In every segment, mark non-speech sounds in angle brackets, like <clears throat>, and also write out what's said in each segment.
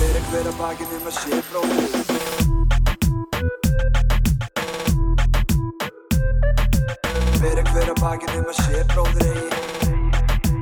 hver að baki nema sé bróðir Hver að hver að baki nema sé bróðir eigi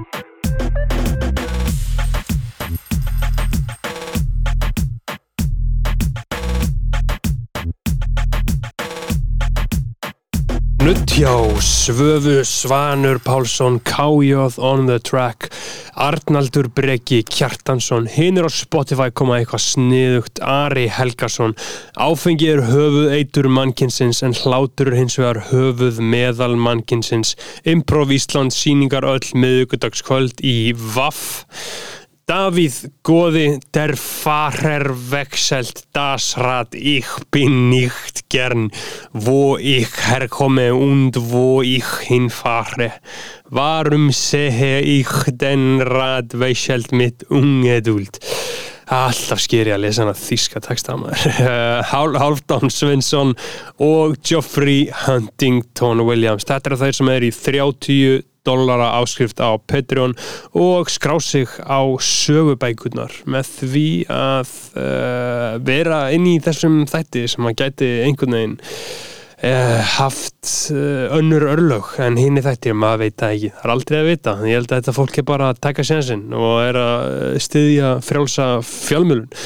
Nutt hjá Svöfu Svanur Pálsson, Kájóð on the track, Arnaldur Breki Kjartansson, hinn er á Spotify koma eitthvað sniðugt, Ari Helgason, áfengi er höfuð eitur mannkinsins en hlátur er hins vegar höfuð meðal mannkinsins, Improv Ísland síningar öll miðugudagskvöld í Vaff. Davíð Góði der Farer Vexelt das Rad ich bin nicht gern wo ich herkomme und wo ich hinfahre warum sehe ich den Rad Vexelt mit ungeduld Alltaf skeri að lesa hana þíska texta maður. <laughs> Eh, Hál- Hálfdán Svensson og Geoffrey Huntington Williams. Þetta eru þeir sem eru í 30 dollara áskrift á Patreon og skrá sig á sögubækurnar með því að uh, vera inn í þessum þætti sem að gæti einhvern veginn uh, haft uh, önnur örlög en hinn er þetta, maður veit það ekki það er aldrei að vita, ég held að þetta fólk er bara að taka sjansinn og er að eh, styðja frjálsa fjálmjölun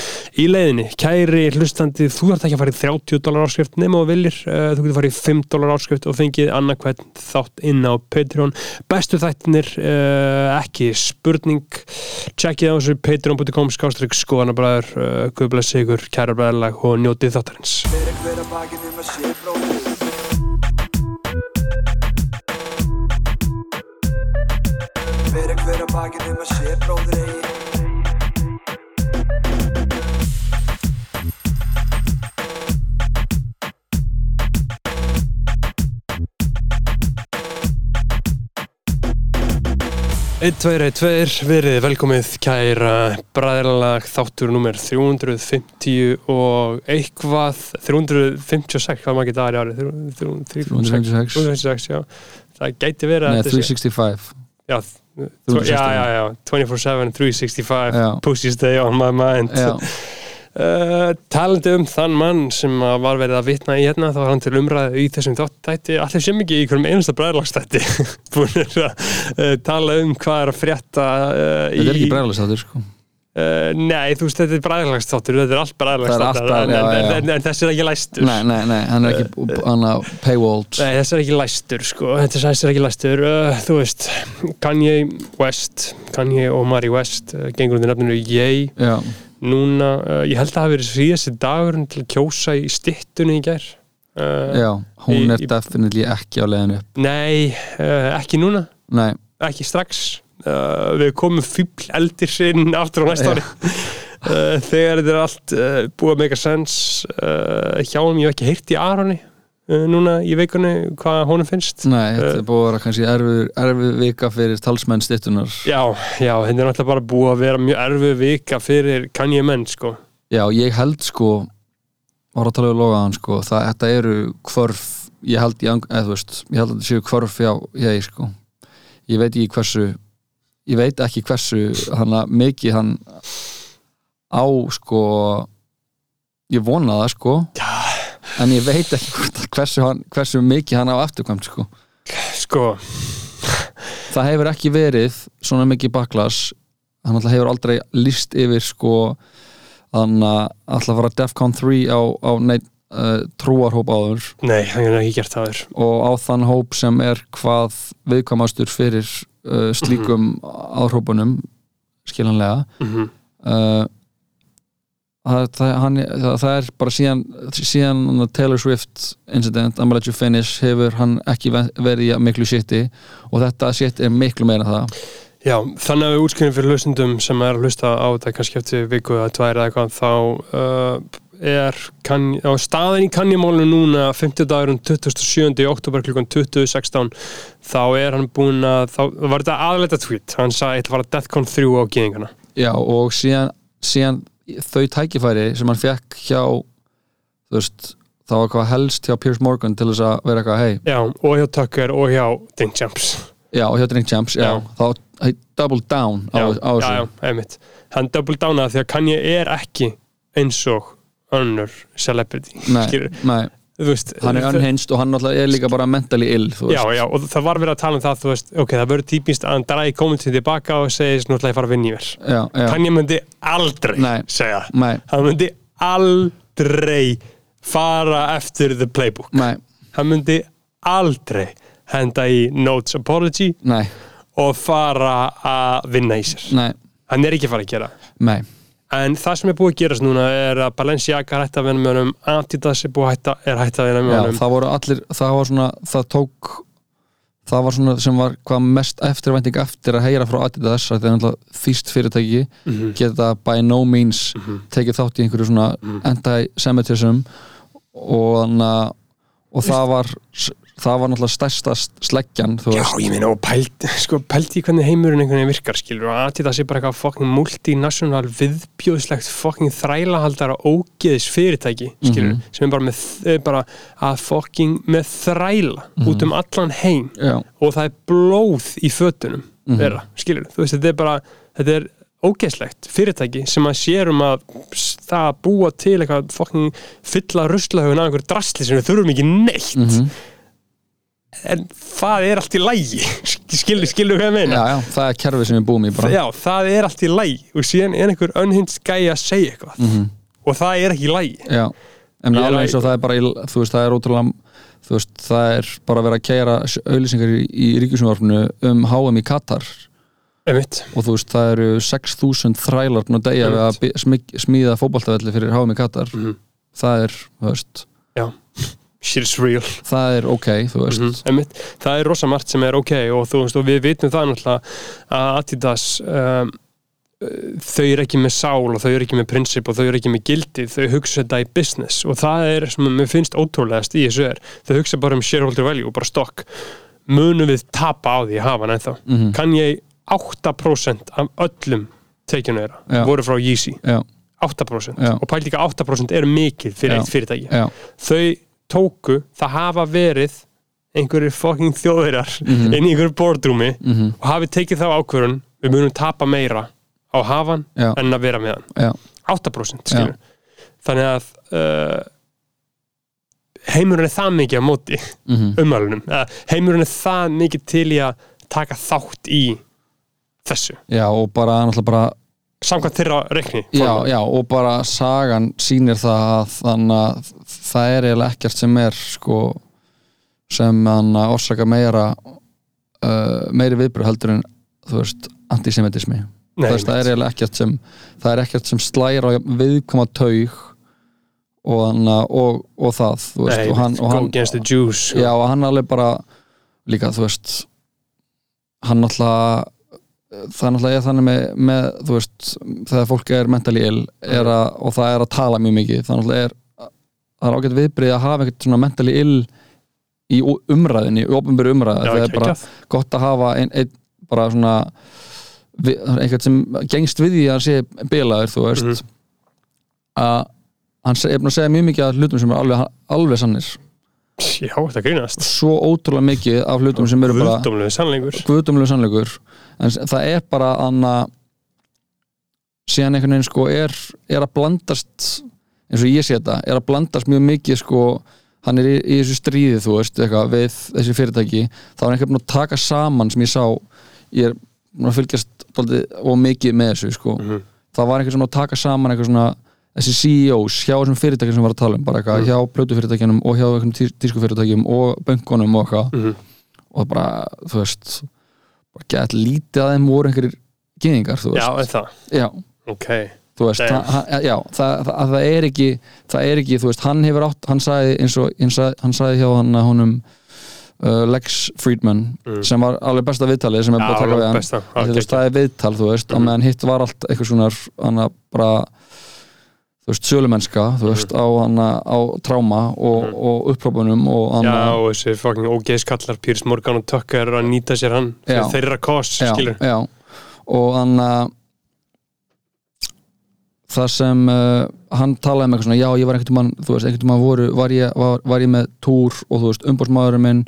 í leiðinni, kæri hlustandi þú þarf ekki að fara í 30 dólar áskrift nema og viljir, uh, þú getur farið í 5 dólar áskrift og fengið annarkvæmt þátt inn á Patreon, bestu þættinir uh, ekki spurning tjekkið á þessu patreon.com skástrík skoðanabræður, uh, guðbless ykkur kæra bræðarlag og njótið þáttarins Hver að hver að baki nema sé bróðir Hver að hver að baki nema sé bróðir eigi Einn, tveir, einn, tveir, verið velkomið kæra bræðralag þáttur nummer 350 og eitthvað 356, hvað maður geta aðri árið? Þrjú- þrjú- 356. 356, já. Það gæti verið að Nei, þetta sé- 365 Já, tvo- 365. já, já, já, 24-7, 365, Já. pussy stay on my mind. Já, Uh, talandi um þann mann sem að var verið að vitna í hérna þá var hann til umræðu í þessum þáttætti allir sem ekki í hverjum einasta <laughs> bræðlagstætti búinir að uh, tala um hvað er að frétta uh, þetta er ekki bræðalistáttur sko uh, Nei, þú veist, þetta er bræðlagstáttur þetta er allt allt bræðlagstáttur en, bræðlag- já, en, já, já. en, en þessi er ekki læstur Nei, nei, nei, hann er ekki hann á paywalled Nei, þessi er ekki læstur, sko, þetta er þessi er ekki læstur, uh, þú veist, Kanye West, Kanye og Mari West, uh, gengur undir nafninu Ye, Já, núna, uh, ég held að það hafi verið síðasti dagurinn til að kjósa í stittunni í gær. Uh, já, hún Í- er í- definitely ekki á leiðinu upp Nei, uh, ekki núna, Nei, ekki strax. Uh, við komum fýbl eldir inn aftur á næsta Já. ári. Uh, þegar þetta er allt uh, búið að make a sense uh, hjá hann, ég hef ekki heyrt í Aroni uh, núna í veikunni hvað honum finnst. nei, þetta er búið að vera kannski erfið, erfið vika fyrir talsmenn stittunar Já, já, þetta er náttúrulega bara búið að vera mjög erfið vika fyrir kannið menn, sko. Já, ég held sko var að tala við logaðan sko það, þetta eru hvörf ég held, ég, eða, þú veist, ég held að þetta séu hvörf já, ég sko ég veit ekki hversu ég veit ekki hversu hana, mikið hann á sko ég vona það sko já. en ég veit ekki hvort, hversu, hann, hversu mikið hann á afturkvæmt sko Sko, það hefur ekki verið svona mikið baklas hann alltaf hefur aldrei list yfir sko þannig að alltaf fara Defcon 3 á, á neitt uh, trúarhóp áður nei, hann er ekki gert það þurr. og á þann hóp sem er hvað viðkvamastur fyrir uh, slíkum áhrópunum skiljanlega Mhm. uh, það, það, hann, það, það er bara síðan, síðan Taylor Swift incident, I'm gonna let you finish hefur hann ekki ve- verið í miklu shiti og þetta shit er miklu meira en það Já, þannig að við útskynum fyrir hlustundum sem er að hlusta á þetta kannski eftir viku eða tvær eða eitthvað þá uh, er kann, á staðin í kannjamálinu núna 50 dagurinn 27. oktober klukkan 2016 þá er hann búinn að þá var þetta aðleita tweet hann sagði eitthvað var að Deathcon 3 á geðingana Já, og síðan, síðan þau tækifæri sem hann fekk hjá þú veist, það var hvað helst hjá Piers Morgan til þess að vera eitthvað hei, Já, og hjá Tucker og hjá Dinkjamps já, og hjá Drink Champs, já, Já. þá hey, double down á, Já, á já, þessu já, einmitt hann double downaði því að Kanye er ekki eins og önnur celebrity nei, Skilur. nei, Þú veist, hann er það- unhinged og hann náttúrulega er líka bara mentally ill þú Já, veist. já, og það var verið að tala um það, þú veist, ok, það verður típist að hann dræði kommentin tilbaka og segist, nú ætla ég að fara að vinna í mér. já, já, Kanye myndi aldrei Nei. segja það. nei, Hann myndi aldrei fara eftir the playbook. nei, Hann myndi aldrei henda í notes apology nei, og fara að vinna í sér. nei, Hann er ekki að fara að gera. það. nei En það sem er búið að gerast núna er að Balenciaga er hætt að vinna með honum, Adidas er búið að hætta, er hætt að vinna með já, honum. það voru allir, það var svona það tók, það var svona sem var hvað mest eftirvænting eftir að heyra frá Adidas að það er náttúrulega þýst fyrirtæki geta by no means tekið þátt í einhverju svona anti-semitism og þannig að og það var, það var náttúrulega stærsta sleggjan, þú Já, veist ég meina, og pælt, sko, pælt í hvernig heimurinn einhvern veginn virkar, skilur, og Adidas er bara eitthvað fucking multinational, viðbjóðslegt fucking þrælahaldara ógeðis fyrirtæki, skilur, Mhm. sem er bara, með, er bara að fucking með þræla Mhm. út um allan heim já, og það er blóð í fötunum Mhm. þeirra, skilur, þú veist, þetta er bara þetta er ógeðslegt fyrirtæki sem að sérum að s- það að búa til eitthvað fucking fylla ruslahögun að einhver drasli sem við þurfum ekki neitt Mhm. en það er allt í lægi skilur, skilur hvað ég meina já, já, það er kerfið sem við búum í bara já, það er allt í lægi og síðan er einhver önhins gæi að segja eitthvað Mm. Mhm. og það er ekki í lægi Já, en Ég er alveg eins og að- það er bara í, þú veist, það er ótrúlega þú veist, það er bara að vera að kæra auðlýsingar í, í ríkjusumvarpinu um HM í Katar Einmitt. og þú veist, það eru 6.000 þrælar nú degja við að bi- smig- smíða fótboltavelli fyrir HM í Katar Mhm. það er, þú veist, já, shit is real það er ok þú veist, Einmitt. það er rosa margt sem er ok og, þú, veist, og við vitum það náttúrulega að Adidas um, þau eru ekki með sál og þau eru ekki með prinsip og þau eru ekki með gildi þau hugsa þetta í business og það er sem mér finnst ótrúlegast í þessu er þau hugsa bara um shareholder value og bara stock munum við tapa á því að hafa hann ennþá Mhm. kann ég 8% af öllum tekjunum Já. þeirra voru frá Yeezy já, 8% Já. og pælt ekki að 8% er mikið fyrir Já. eitt fyrirtæki já, þau tóku, það hafa verið einhverjir fucking þjóðverjar Mhm. inn í einhverju boardroomi mm og hafi tekið þá ákvörun, við munum tapa meira á hafan já, en að vera með hann já 8% skilur þannig að uh, heimurinn er það mikið á móti <laughs> mm umhælunum, uh, heimurinn er það mikið til í að taka þátt í þessu, já, og bara, náttúrulega bara samkvæmt þeirra reikni já, já, og bara sagan sýnir það að þannig að það er eiginlega ekkert sem er sko, sem hann að orsaka meira uh, meiri viðbröð heldur en þú veist, antisemitismi Nei, þú veist, það er eiginlega ekkert sem það er ekkert sem slæra viðkoma taug og, hana, og, og það þú veist, Nei, og hann, og go hann, against the Jews sko. já, og hann alveg bara líka, þú veist hann náttúrulega það er náttúrulega er þannig með, með þú veist, þegar fólk er mentally ill er að, og það er að tala mjög mikið það náttúrulega er, það er ágætt viðbrið að hafa einhvern svona mentally ill í ó- umræðinni, í opinbyrðu umræði það er bara geggjað. gott að hafa ein, ein, bara svona vi, einhvern sem gengst við því að hann sé bilaður, þú veist Mhm. að hann se- er búin að segja mjög mikið af hlutum sem er alveg, alveg sannir já, þetta grínast svo ótrúlega mikið af hlutum sem eru bara Völdumlegu sannleikur guðdumlega sannleikur en s- það er bara anna síðan einhvern veginn sko er, er að blandast eins og ég sé þetta, er að blandast mjög mikið sko, hann er í, í þessu stríði þú veist, eitthvað, við þessi fyrirtæki þá er einhvern veginn að taka saman sem ég sá ég er búinn að fylgjast dálítið og mikið með þessu sko Mhm. það var einhvern svona að taka saman eitthvað svona þessi CEOs hjá þessum fyrirtækjum sem var að tala um bara eitthvað, hjá plötufyrirtækjunum og hjá einhvern tí- tískufyrirtækjum og bönkunum og eitthvað Mhm. og bara, þú veist bara gett lítið að þeim voru einhverjir geðingar, þú Já, veist er það, já, ok þú veist, Damn. það, hann- já, það, það, það er ekki það er ekki, þú veist, hann hefur átt hann sagði eins og, eins og hann sagði hjá hann honum uh, Lex Friedman Mm. sem var alveg besta viðtalið sem er búið að taka við hann besta okay, okay. veist, það er viðtal, þú veist mm. á meðan hitt var allt eitthvað svona hana, bara, þú veist, sölumennska þú veist, á, hana, á tráma og, mm. og upprópunum og hana, Já, og þessi fucking ógeðskallar Pírs Morgan og Tucker að nýta sér hann Já. fyrir þeirra kos, skilur já, já. og hann að það sem uh, hann talaði um eitthvað svona, já ég var einhvern tímann þú veist, einhvern tímann voru, var ég, var, var ég með túr og þú veist, umbórsmaðurinn minn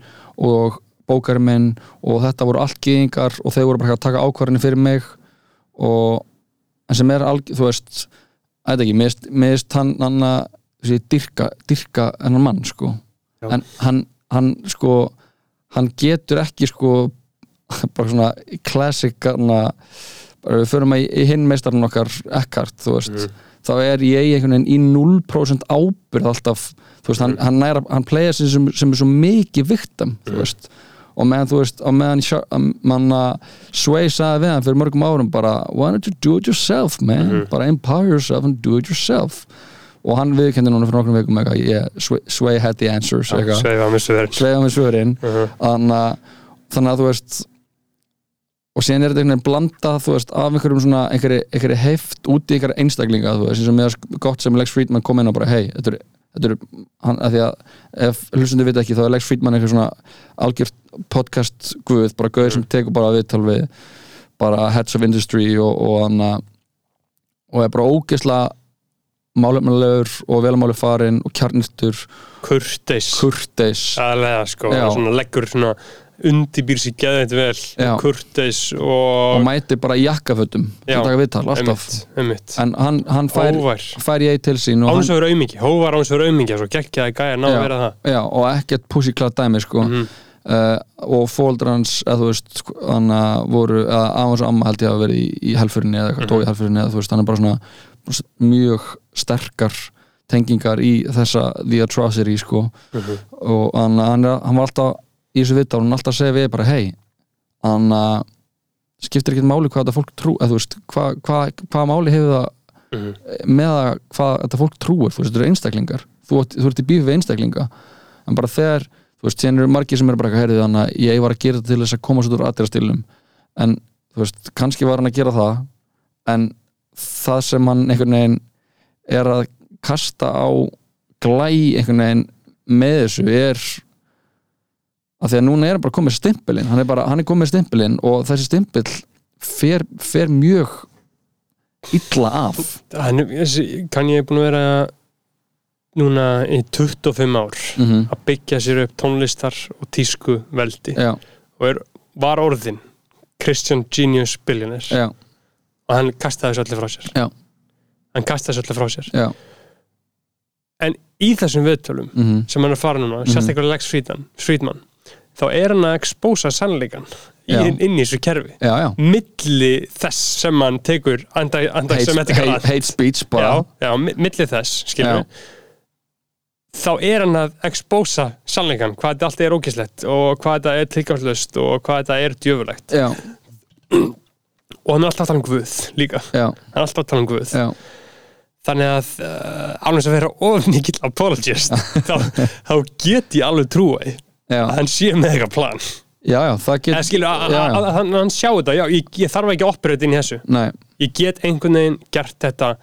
og bókarinn minn og þetta voru allt gýðingar og þeir voru bara að taka ákvarðinu fyrir mig og en sem er alg, þú veist þetta ekki, meðist, meðist hann hann að, þessi, dyrka, dyrka hennar mann, sko Já. en hann, hann, sko hann getur ekki, sko <laughs> bara svona classic hana, bara við förum að í, í hinn meistarinn okkar Eckhart, þú veist þá er ég einhvern veginn í 0% ábyrð alltaf, þú veist, hann, hann næra hann playa sig sem, sem er svo mikið viktam, þú veist og meðan þú veist, og meðan Sha- að manna Sway sagði við hann fyrir mörgum árum bara, why don't you do it yourself man bara empower yourself and do it yourself og hann viðkendi núna fyrir nokkrum vikum eitthvað, yeah, Sway, Sway had the answers Ah, eitthvað Sveifa með sverin sveiða með svörin Mhm. þannig, að, þannig að þú veist og síðan er þetta einhvern veginn blanda þú veist, af einhverjum svona einhverju, einhverju heift út í einhverju einstaklinga þú veist, eins og mér er gott sem Lex Friedman kom inn og bara hei, þetta er, þetta er hann, að því að ef hlustundu vita ekki þá er Lex Friedman einhver svona algjört podcast guð, bara guður sem tekur bara viðtal við bara Heads of Industry og, og hann að og er bara ógeðslega málefnulegur og velmáli farinn og kjarnistur, Kurteis kurteis aðlega sko Já. og svona leggur svona undibýr sér geðið vel Já. Kurteis og og mæti bara í jakkafötum til Já, að taka viðtal alltaf einmitt, einmitt. en hann, hann fær, Hóvar fær ég til sín og, Án svo hann, verið aumingi, hóvar án svo verið aumingi svo geggjaði gæja ná að Já. vera það já, og ekkert pussyklað dæmi sko. Mhm. uh, og fóldra hans eða þú veist sko, hann að voru eða aðeins og amma held ég að hafa verið í, í helfurinni eða Mhm. eitthvað, dó í helfurinni eða þú veist hann er bara svona bara s- mjög sterkar tengingar í þessa The Atrocity sko. Mhm. og hann, hann, er, hann var alltaf í þessu viðtal hann alltaf segi við bara hei hann að skiptir ekkert máli hvað þetta fólk trú eða þú veist hvað hva, hva máli hefur það Mhm. með það hvað þetta fólk trúir þú veist, þetta eru einstaklingar þú, átt- þú ert í bífi við einstaklinga en bara þegar, þú veist, síðan eru margir sem eru bara heyrðið hann að ég var að gera þetta til þess að komast út úr aðdýrastilum en, þú veist, kannski var hann að gera það en það sem hann einhvern veginn er að kasta á glæ einhvern veginn með þessu er að því að núna er hann bara komið stimpilinn hann er bara, hann er komið stimpilinn og þessi stimpill fer, fer mjög illa af hann, þessi- kann ég búin að vera núna í 25 ár mm að byggja sér upp tónlistar og tísku veldi já, og er, var orðin Christian Genius Billionaire já, og hann kastaði þessu öllu frá sér Já. hann kastaði þessu öllu frá sér já en í þessum viðtölum mm sem hann er farin núna, mm -hmm. sérstaklega Lex Friedman, Friedman þá er hann að expósa sannleikan Já. inn, inn í þessu kerfi já, já milli þess sem hann tekur hate, antisemitika hate, hate speech bara já, já, mi- milli þess skilur Já. þá er hann að expósa sannleikan hvað þetta allt er ógislegt og hvað þetta er tilgangslust og hvað þetta er djöfulegt já, og hann er alltaf að tala um guð líka já, hann er alltaf að tala um guð já, þannig að uh, alveg sem vera of mikill <laughs> apologist þá, þá get ég alveg trúi já, að hann sé með eitthvað plan já, já það eða getur skilur að, Já, að, já. að, hann- hann sjá þetta já, ég, ég þarf ekki að operate inn í þessu nei, ég get einhvern veginn gert þetta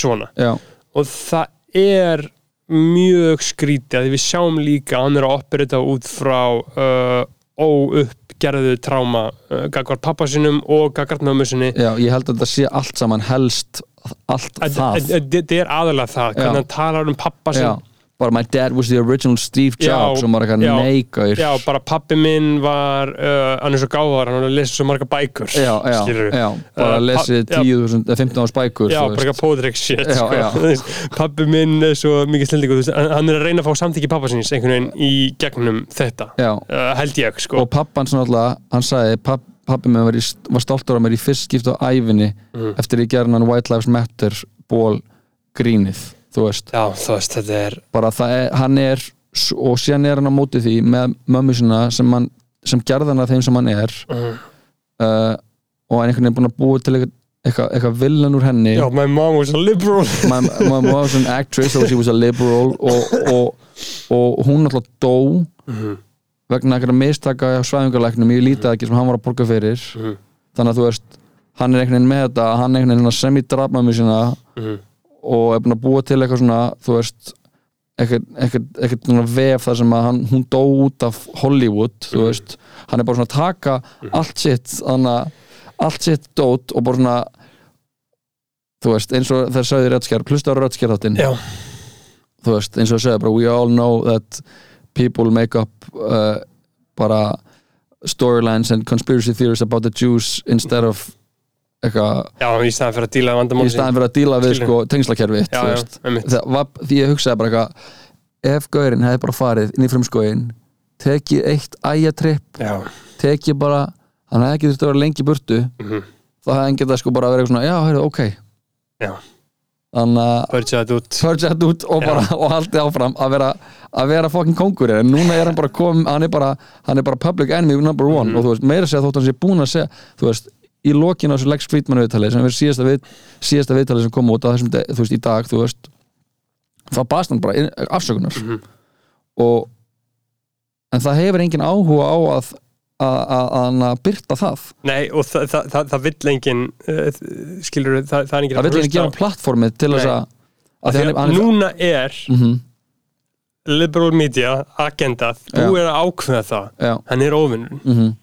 svona já, og það er mjög skrítið að við sjáum líka að hann er að operita út frá uh, óuppgerðu tráma uh, gagvart pappa sinum og gagvart mömmu sinni já, ég held að þetta sé allt saman helst allt það þetta er aðalega það Já. hvernig hann talar um pappa já, sinn bara my dad was the original Steve Já, Jobs og maður eitthvað já, neigaur já, bara pappi minn var uh, hann er svo gáðar, hann er að lesa svo marga bækur já, já, skilurðu. já, bara Uh, lesið pa- já. 10.000 eða 15.000 bækur Já, þú bara veist. eitthvað póðrygg shit Já, já. sko. Pappi minn er svo mikið slendingu hann hann er að reyna að fá samþykki pappa sinns einhvern veginn í gegnum þetta já, uh, held ég sko og pappan svona alltaf, hann sagði papp, pappi mér var, í, var stoltur á mér í fyrst skipt á ævinni Mm. eftir ég gerði hann White Lives Matter ból grínið, þú veist Já, þú veist, þetta er bara það er, hann er s- og síðan er hann á móti því með mömmu sinna sem, hann, sem gerði hann að þeim sem hann er Mm. uh, og hann einhvern veginn er búin að búa til eitthvað, eitthvað, eitthvað villan úr henni Já, my mom was a liberal my, my mom was an actress so she was a liberal og, og, og hún alltaf dó Mhm, vegna einhverja mistaka á svæðingarlæknum ég lítið ekki sem hann var að borga fyrir þannig að þú veist, hann er einhvern veginn með þetta hann er einhvern veginn sem í drafmömmu sína mhm. og er búin að búa til eitthvað svona þú veist ekkert, ekkert, ekkert svona vef þar sem að hann, hún dó út af Hollywood þú veist, hann er bara svona að taka allt sitt þannig að allt sitt dót og bara svona þú veist, eins og þær sagði röttskjær, plustu á röttskjær þáttinn Já, þú veist, eins og það segja bara we all know that people make up uh, bara storylines and conspiracy theories about the Jews instead of eitthvað Já, í staðan fyrir að díla vandamál í staðan fyrir að díla við Skilur. sko, tengslakerfi eitt, Já, já, einmitt. það var, því ég hugsaði bara eitthvað ef gaurinn hefði bara farið inn í frumskóin tekið eitt æjatripp Já, tekið bara, hann hefði ekki þurft að vera lengi í burtu Mhm. þá hefði hann getað sko bara að vera eitthvað svona já, heyrðu, ok, já, þannig að purge that út purge þetta út og, bara, og haldið áfram að vera, að vera fucking kongur en núna er hann bara kom, hann er bara, hann er bara public enemy number one og þú veist, meira að segja þótt hann sé búin að segja þú veist, í lokinu á þessu Lex Friedman viðtalið sem er síðasta, við, síðasta viðtalið sem kom út á þessum, de- þú veist, í dag, þú veist þá baðst hann bara inn, afsökunar Mhm. og en það hefur engin áhuga á að að- að að hann að byrta það Nei, og það, það, það, það vill engin uh, skilur, það, það er engin það vil ekki gefa platformið til þess Nei. að að því hann, er- Þegar hann er núna er mm liberal media agenda, þú Já. er að ákveða það já, hann er óvinnur mm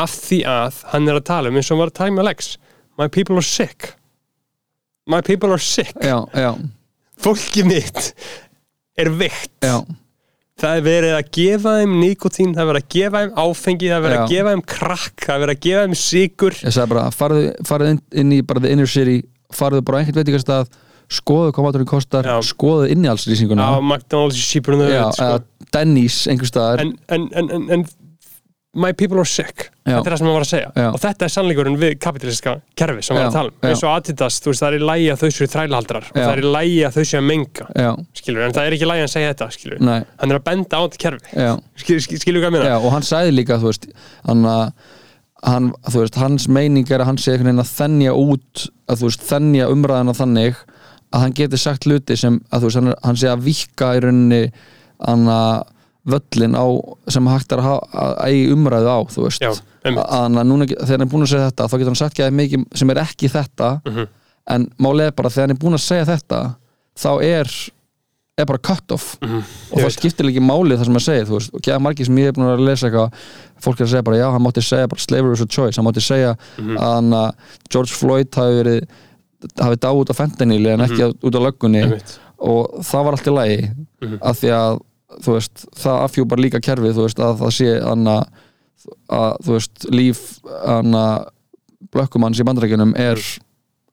af því að hann er að tala um eins og hann var að tala með Lex my people are sick my people are sick já, já, fólki mitt er veikt já það er verið að gefa þeim nikotín það er verið að gefa þeim áfengi það er verið að Já. gefa þeim krakk það er verið að gefa þeim sigur ég sagði bara, farðu, farðu inn, inn í bara the inner city, farðu bara á einhvern veitingastað skoðu hvað maturinn kostar, Já. skoðu innihalslýsinguna á McDonalds í Sýbrunum já, sko. eða Denny's einhvers staðar en, en, en, en, en my people are sick Já. þetta er það sem hann var að segja Já. og þetta er sannleikurinn við kapitalistiska kerfi sem hann var Já, að tala um já. eins og Adidas, þú veist, það er í lægi að þau séu þrælahaldrar og Já. það er í lægi að þau séu að menga já, skilur, en það er ekki lægi að hann segja þetta skilur. nei, hann er að benda á þetta kerfi já, skilur, skilur, skilur hvað að minna já og hann sagði líka þú veist, hann að hann, þú veist, hans meining er að hann sé einhvern veginn að þennja út að þú veist, þennja umræðina þannig að hann geti sagt hluti sem að þú veist, hann, er- hann sé að vika í rauninni hann að völlin á sem hægt er að, ha- að, að eigi umræðu á þú veist já, um, að hann að núna, þegar hann er búin að segja þetta þá getur hann sagt ekki að mikið sem er ekki þetta Mhm. en málið er bara þegar hann er búin að segja þetta þá er er bara cut off og Mhm. Ég það veit. skiptir ekki máli það sem hann segir þú veist, og geða margir sem ég er búin að vera að lesa eitthvað fólk er að segja bara, já, hann mátti segja bara slavery is a choice, hann mátti segja Mhm. að hann að George Floyd hafi verið hafi dáið út á fentanyl en ekki út á löggunni Mhm. einmitt. og það var allt í lagi af því að þú veist, það afhjúpar líka kerfið þú veist, að það sé anna, að þú veist, líf anna, blökkumanns í bandarækjunum er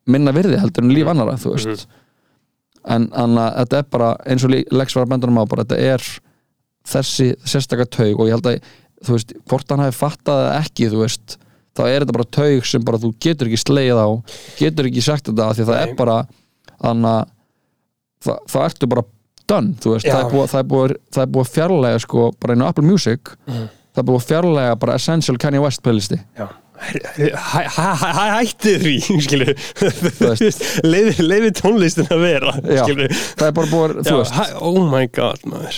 minna virði heldur en Mhm. líf annara þú veist en anna, þetta er bara, eins og Lí- Lex var að benda um á bara, þetta er þessi sérstaka taug og ég held að þú veist, hvort hann hafi fattað það ekki þú veist, þá er þetta bara taug sem bara þú getur ekki sleið á getur ekki sagt þetta af því að það Nei. er bara anna, það, það ertu bara done, þú veist, Já. það er, búið, það, er búið, það er búið að fjarlæga sko, bara inn á Apple Music Mhm. það er búið að fjarlæga bara Essential Kanye West playlisti, Já. Hæ- hæ- hæ- hæ- hætti því <laughs> skilur veist. leiði, leiði tónlistin að vera Já. skilur það er bara <laughs> búið, Já, þú veist hæ- oh my god maður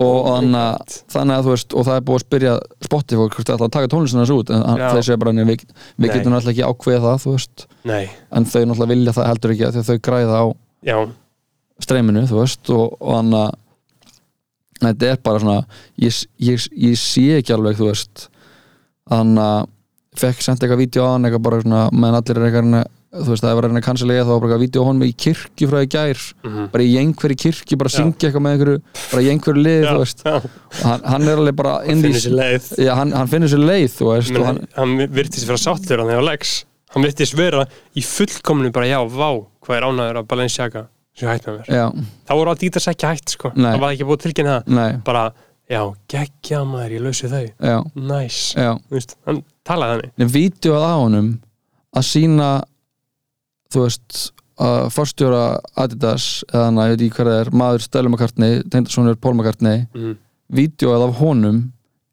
og Oh my þannig að, God. þannig að þú veist og það er búið að spyrja Spotify hvort það ætla að taka tónlistina þessu út en hann- Já. þeir segja bara, "Nei, við, við Nei. getum alltaf ekki ákveða það, þú veist nei, en þau náttúrulega vilja það heldur ekki af því að þau græða á já, streyminu, þú veist og, og hann að þetta er bara svona ég, ég, ég sé ekki alveg, þú veist hann að fekk sent eitthvað vídeo á hann, eitthvað bara svona meðan allir er eitthvað, að reyna- þú veist, það er verið að reyna að kansilega þá var bara eitthvað vídeo á honum í kirkju frá í gær Mhm. bara í einhverju kirkju, bara að syngja eitthvað með einhverju bara í einhverju lið, já, þú veist já. hann, hann er alveg bara inn í finnir sér leið já, hann, hann finnur sér leið, þú veist Men, og hann, hann, hann virtist vera sáttur hann hefur Lex hann virtist vera í fullkomnu bara já, vá, hvað er ánæður að Balenciaga sem hætt með mér já, þá voru að dýta ekki hætt sko Nei. það var ekki búið tilkynna það nei, bara, já, geggja maður, ég lausi þau já, næs, já þú veist, hann talaði þannig en vídeoð á honum að sína þú veist að forstjóra Adidas eða hann að ég veit ekki hver það er maður Stella McCartney, tengdarsonur Paul McCartney mm, vídeoð af honum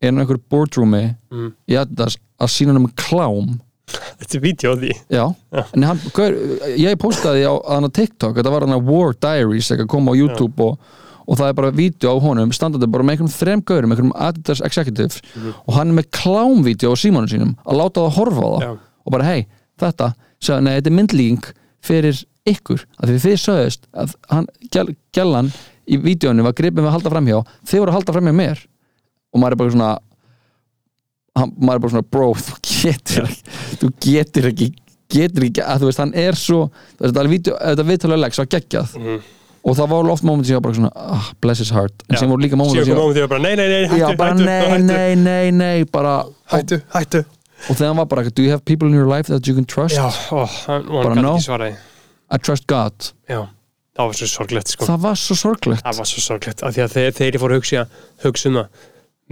inn á einhverju boardroomi mm. í Adidas að sína hann um klám þetta er vídeo á því já, Já. en hann, hver, ég postaði á hann að TikTok, þetta var hann að War Diaries eitthvað kom á YouTube og, og það er bara vídeo á honum, standandi bara með einhverjum þrem gaurum, einhverjum Adidas Executives Mhm. og hann er með klámvídeó á símanum sínum að láta það horfa á það Já. og bara hei, þetta, sagði, nei, þetta er myndlíking fyrir ykkur, af því þið sögðust að hann, gæl, gælan í vídeónu var gripin við að halda framhjá þið voru að halda framhjá mér og maður er bara svona hann, maður er bara svona, bro, þú getur ekki þú getur ekki getur ekki, að þú veist, hann er svo þú veist, það er vídeo, þetta viðtalega legs var geggjað Mhm. og það voru oft moment sem ég var bara svona ah, bless his heart, en Já. sem voru líka moment síðan sem ég kom var, ámum því að bara, nei, nei, nei, já, hættu, bara hættu, nei, hættu, nei, nei, nei bara, hættu, hættu og þegar hann var bara, do you have people in your life that you can trust? já, ó, hann, og Bara hann gæti no. ekki svaraði I trust God já, það var svo sorglegt sko það var svo sorglegt það var svo sorglegt, af því að þeir, þeir fóru að hugsa, hugsa um það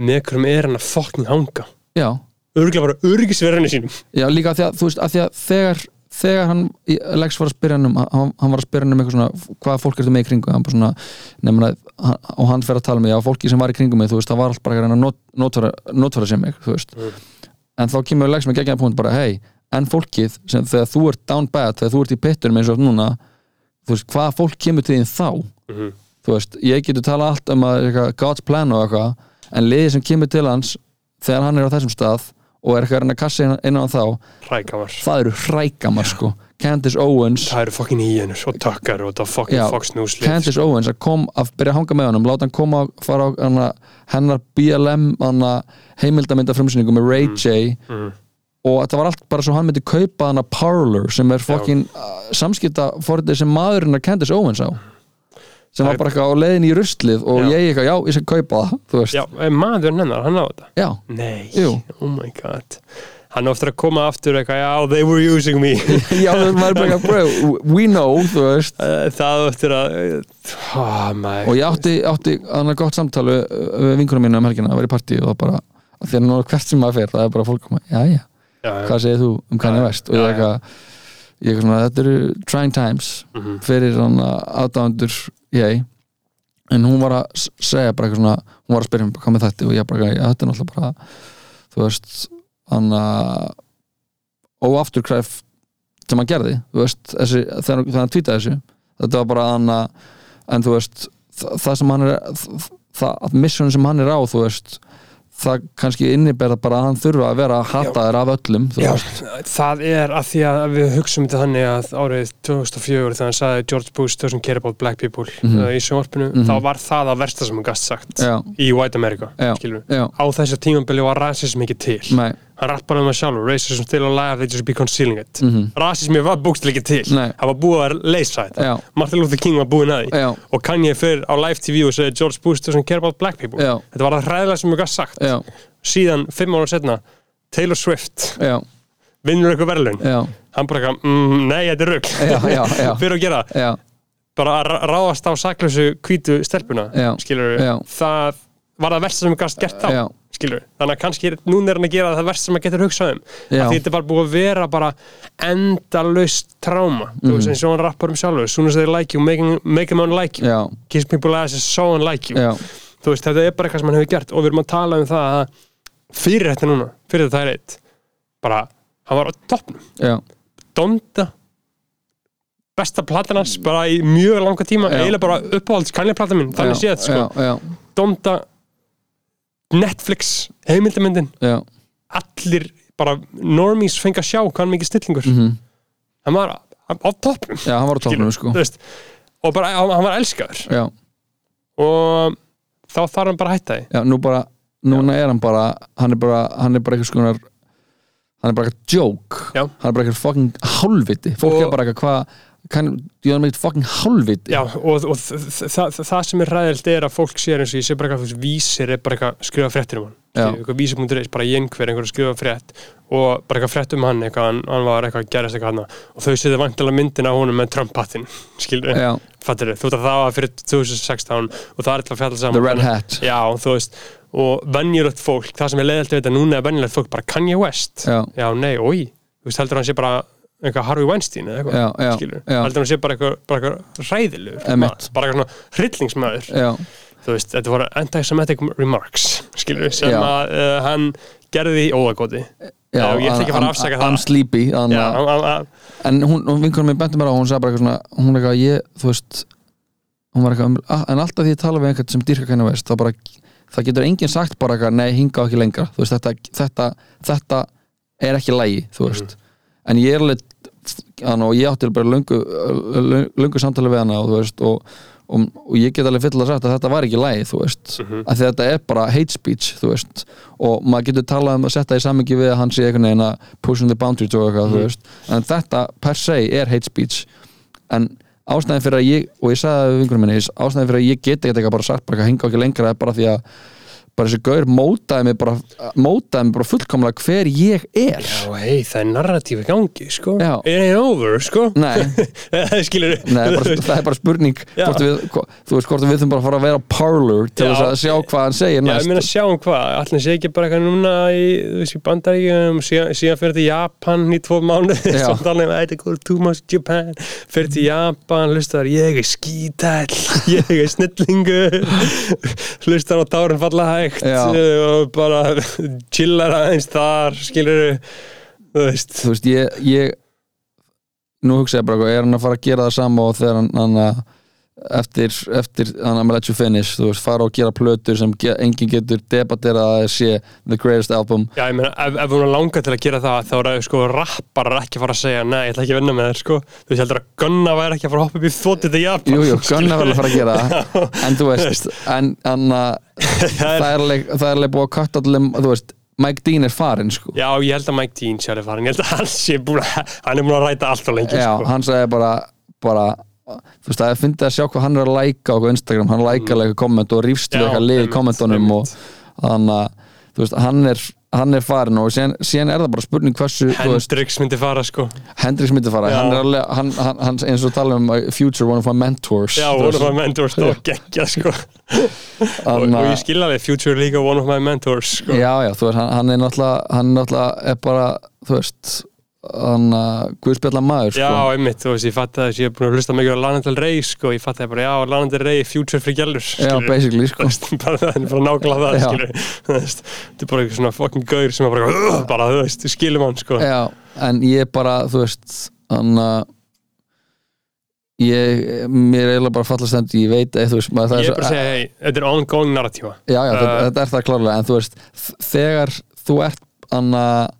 með hverjum er hann að fokkin hanga já, örgulega bara örgisverðinu sínum já líka af því að þú veist, af því að þegar þegar hann, í- Lex var að spyrja hann um hann, hann var að spyrja hann um eitthvað svona hvaða fólk er þetta með í kringu, hann bara svona nefna, hann, og hann fer að tala um mig, já, fólki sem var í kringum mig þú veist, það var alltaf bara að reyna að not- notfæra, notfæra sem mig, þú veist Mm. en þá kemur Lex með geggjaða punkt bara, hei en fólkið, sem þegar þú ert down bad þegar þú ert í pittunum eins og núna þú veist, hvaða fólk kemur til þín þá Mhm. þú veist, ég getur tala allt um að eitthvað, God's plan og eitthvað en liðið sem kemur til hans þegar hann er á þessum stað og er eitthvað að reyna að kassa inn- inn á hann þá rækamar, það eru hrækamar sko Candice Owens það sko. eru fokkin hýjenur og takkar og það fokkin Já, Fox News lið Candice Owens að kom að byrja að hanga með honum láta hann koma að fara á hana, hennar BLM hana, heimildaminda frumsýningu með Ray J mm. og þetta var allt bara svo hann myndi kaupa hana Parler sem er fokkin samskipta forðið sem maðurinn að Candice Owens á sem Það var er- bara eitthvað á leiðin í ruslið og Já. ég eitthvað, já, ég sem kaupa það þú veist, já, eh, maðurinn hennar, hann á þetta já. <laughs> Nei, Jú. oh my god Hann á eftir að koma aftur eitthvað Já, they were using me <laughs> já, það var bara eitthvað bro, we know, þú veist Eh, Það á eftir að oh, my, og ég átti, átti annað gott samtali við vinkunum mínu um helgina, það var í partí og það bara, af því að náður hvert sem maður fer það er bara fólk koma, já, já, já, já, hvað segir þú um Kanye Já, West og ég já, eitthvað, ég eitthvað svona, þetta eru trying times mhm, fyrir hann aðdáðandur ég en hún var að s- segja bara eitthvað svona hún var að spyrja mér, hvað með þetta og ég bara, já, þetta er náttúrulega bara þú veist, hann að óafturkræf sem hann gerði, þú veist þessi, þegar, þegar hann tvítaði þessu þetta var bara hann að en þú veist, það, það sem hann er það, það missunum sem hann er á, þú veist það kannski inniberða bara að hann þurfa að vera að hata þér af öllum þú já veist. Það er að því að við hugsum þetta þannig að árið 2004 þegar hann sagði George Bush doesn't care about black people Mhm. eh, í sjónvarpinu, Mhm. þá var það að versta sem hann gast sagt já, í White America Já. skilur við. já, Á þessu tímambili var rasism ekki til nei Hann rappar um það sjálfur, racism still alive, they just be concealing it mm Rasismi var bókstill ekki til Nei. Það var búið að leysa þetta já, Martin Luther King var búinn að því já, og Kanye fyrir á live TV og segir George Bush doesn't care about black people Já. þetta var það hræðilega sem ég gaf sagt já, síðan fimm ára setna Taylor Swift já, vinnur eitthvað verðlaun já. hann bara eitthvað, mm, nei þetta er rugg Já, já, já. <laughs> fyrir að gera það. já, bara að ra- ráðast á saklausu hvítu stelpuna Já. skilur Já. það var það versta sem ég gaf gert þá já, skilur þannig að kannski er- núna er hann að gera það versta sem maður getur hugsað um Já. af því þetta er bara búið að vera bara endalaust tráma þú Mhm. veist eins og hann rappar um sjálfur soon as they like you, make, 'em- make them unlike you já, kiss people as I saw and like you já, þú veist, þetta er bara eitthvað sem hann hefur gert og við erum að tala um það að fyrir þetta núna, fyrir þetta það er eitt bara, hann var á toppnum já, Donda besta platan hans bara í mjög langa tíma Já. eiginlega bara uppáhalds kannleplata mín þannig já, séð, sko, já, já, Donda Netflix, heimildamöndin já, allir bara normies fengi að sjá hvað hann mikið stillingur mhm. hann var á- á toppnum já, hann var á topnum skilur, sko þú veist, og bara, hann hann var elskaður já, og þá þarf hann bara að hætta því já, nú bara núna er hann bara, hann er bara hann er bara eitthvað skonar hann er bara eitthvað joke, Já. hann er bara eitthvað fucking hálfviti, fólk Og- er bara eitthvað hvað, kann, ég er meitt fucking hálfviti Já, og, og þ- þ- þa- þa- það sem er ræðilt er að fólk sér eins og ég sé bara eitthvað, þú veist, vísir er bara eitthvað að skrifa fréttir um hann, Já. Skilur, eitthvað vísir.is, bara ég einhver einhver að skrifa frétt og bara eitthvað frétt um hann, eitthvað, hann, hann var eitthvað að gerast eitthvað hann og þau séðu vantilega myndin á honum með Trump-hattin, skilur, Já, fattir þau, þú veist að það var fyrir 2016 og það er eitthvað að fjalla the saman red hat Já, þú veist, og venjulegt fólk, það sem er leiðilt við þetta núna er venjulegt fólk bara Kanye West, já, já nei, oi, þú veist, heldur hann sé bara eitthvað Harvey Weinstein eða eitthvað já, já, skilur, já, heldur hann sé bara eitthvað, bara eitthvað ræðilegur, Emmett. maður, bara eitthvað svona hryllingsmaður, já, þú veist, þetta voru anti-semitic remarks, skilur, sem Já. að uh, hann gerði í óðagóti já Já, ég ætla ekki að fara að I'm- afsaka I'm það. sleepy, þannig Já, að hann- hann- en hún, hún vinkunum mér benti mér á hún sagði bara eitthvað svona, hún er eitthvað ég, þú veist hún var eitthvað, "Ah, en alltaf því ég tala við einhvern sem dýrka kannu veist, þá bara það getur enginn sagt bara eitthvað, nei, hinga ekki lengra þú veist, þetta, þetta, þetta er ekki lægi, þú veist en ég er alveg, hann og ég átti bara löngu, löngu, löngu samtali við hana og þú veist, og, og, og ég get alveg fyll að sagt að þetta var ekki lægi, þú veist mm að þetta er bara hate speech, þú veist og maður getur talað um að setja í samingi við að hann sé einhvern veginn að pushing the boundaries og eitthvað, þú veist en þetta per se er hate speech en ástæðin fyrir að ég og ég sagði það við vingurum minni, ástæðin fyrir að ég get ekkert eitthvað bara sagt bara eitthvað henga ekki lengra er bara því að bara þessi gaur mótaði mig bara, mótaði mig bara fullkomlega hver ég er Já, hei, það er narratífi gangi, sko Já. It ain't over, sko <laughs> Nei, Það skilur Nei, <laughs> bara, það er bara spurning Já. hvort við, hvo- þú veist hvort við þurfum bara að fara að vera á parlor til Já. þess að sjá hvað hann segir Já, næst ég meina sjá um hvað, allir sé ekki bara eitthvað núna í, þú veist, í bandaríkjum síðan, síðan fyrir til Japan í tvo mánuð <laughs> Já. samt alveg, um, þetta góður too much Japan fyrir til Japan, hlustar ég er skítæll, <laughs> ég er snillingur <laughs> hlustar á tárin falla hægt Já. uh, og bara chillar aðeins þar, skilur þú veist, þú veist, ég, ég nú hugsa ég bara, eitthvað, er hann að fara að gera það sama og þegar hann, hann að eftir, eftir hann að let you finish þú veist, fara og gera plötur sem ge, engin getur debatera að það sé the greatest album já, ég meina ef, ef hún langar til að gera það, þá er að sko rapparar ekki að fara að segja, nei, ég ætla ekki að vinna með þér sko, þú veist, heldur að Gunna væri ekki að fara að hoppa upp í þvotið til Japan jú, jú, skilurðu? Gunnar verður að fara að <laughs> gera það en þú veist, en, en að, Það er- það er alveg það er alveg búið að katta allir, þú veist Mike Dean er farinn sko Já, ég held að Mike Dean sér er farin, ég held að hann sé búin að, hann er búin að ræta allt og lengi, Já, sko. hann sagði bara, bara þú veist, það er fyndið að sjá hvað hann er að læka á Instagram, hann lækar mm. komment og rífst við Já, eitthvað lið í einmitt, kommentunum og þannig að, þú veist, hann er hann er farin og síðan, síðan er það bara spurning hversu, þú veist, Hendrix myndi fara, sko. Hendrix myndi fara Já. hann er alveg, hann, hann, hann, eins og tala um uh, future one of my mentors Já, þú One veist, of My Mentors, þá geggja, sko. Og, hann, og ég að- skil alveg Future League og One of My Mentors, sko. Já, já, þú veist, hann, hann er náttúrulega hann er náttúrulega er bara, þú veist hann að guðspjalla maður Já, sko. einmitt, þú veist, ég fatt að þessi, ég er búin að hlusta mikið á Lana Del Rey, sko, ég fatt að bara, já, Lana Del Rey, Future Free Gellur, já, <laughs> Þú basically, sko veist, bara það er bara nákvæmlega það, Já. skilur Þú veist, þetta er bara eitthvað svona fucking gaur sem er bara, "Ugh", bara, þú veist, skilum hann, sko Já, en ég bara, þú veist hann að ég, mér er eiginlega bara fallast en ég veit, eh, þú veist, maður Ég það er svo- eh, bara að segja, hei, þetta er ongoing narratífa já, já, þetta, uh, þetta er það klárlega, en þú veist þ- þegar þú ert hann að,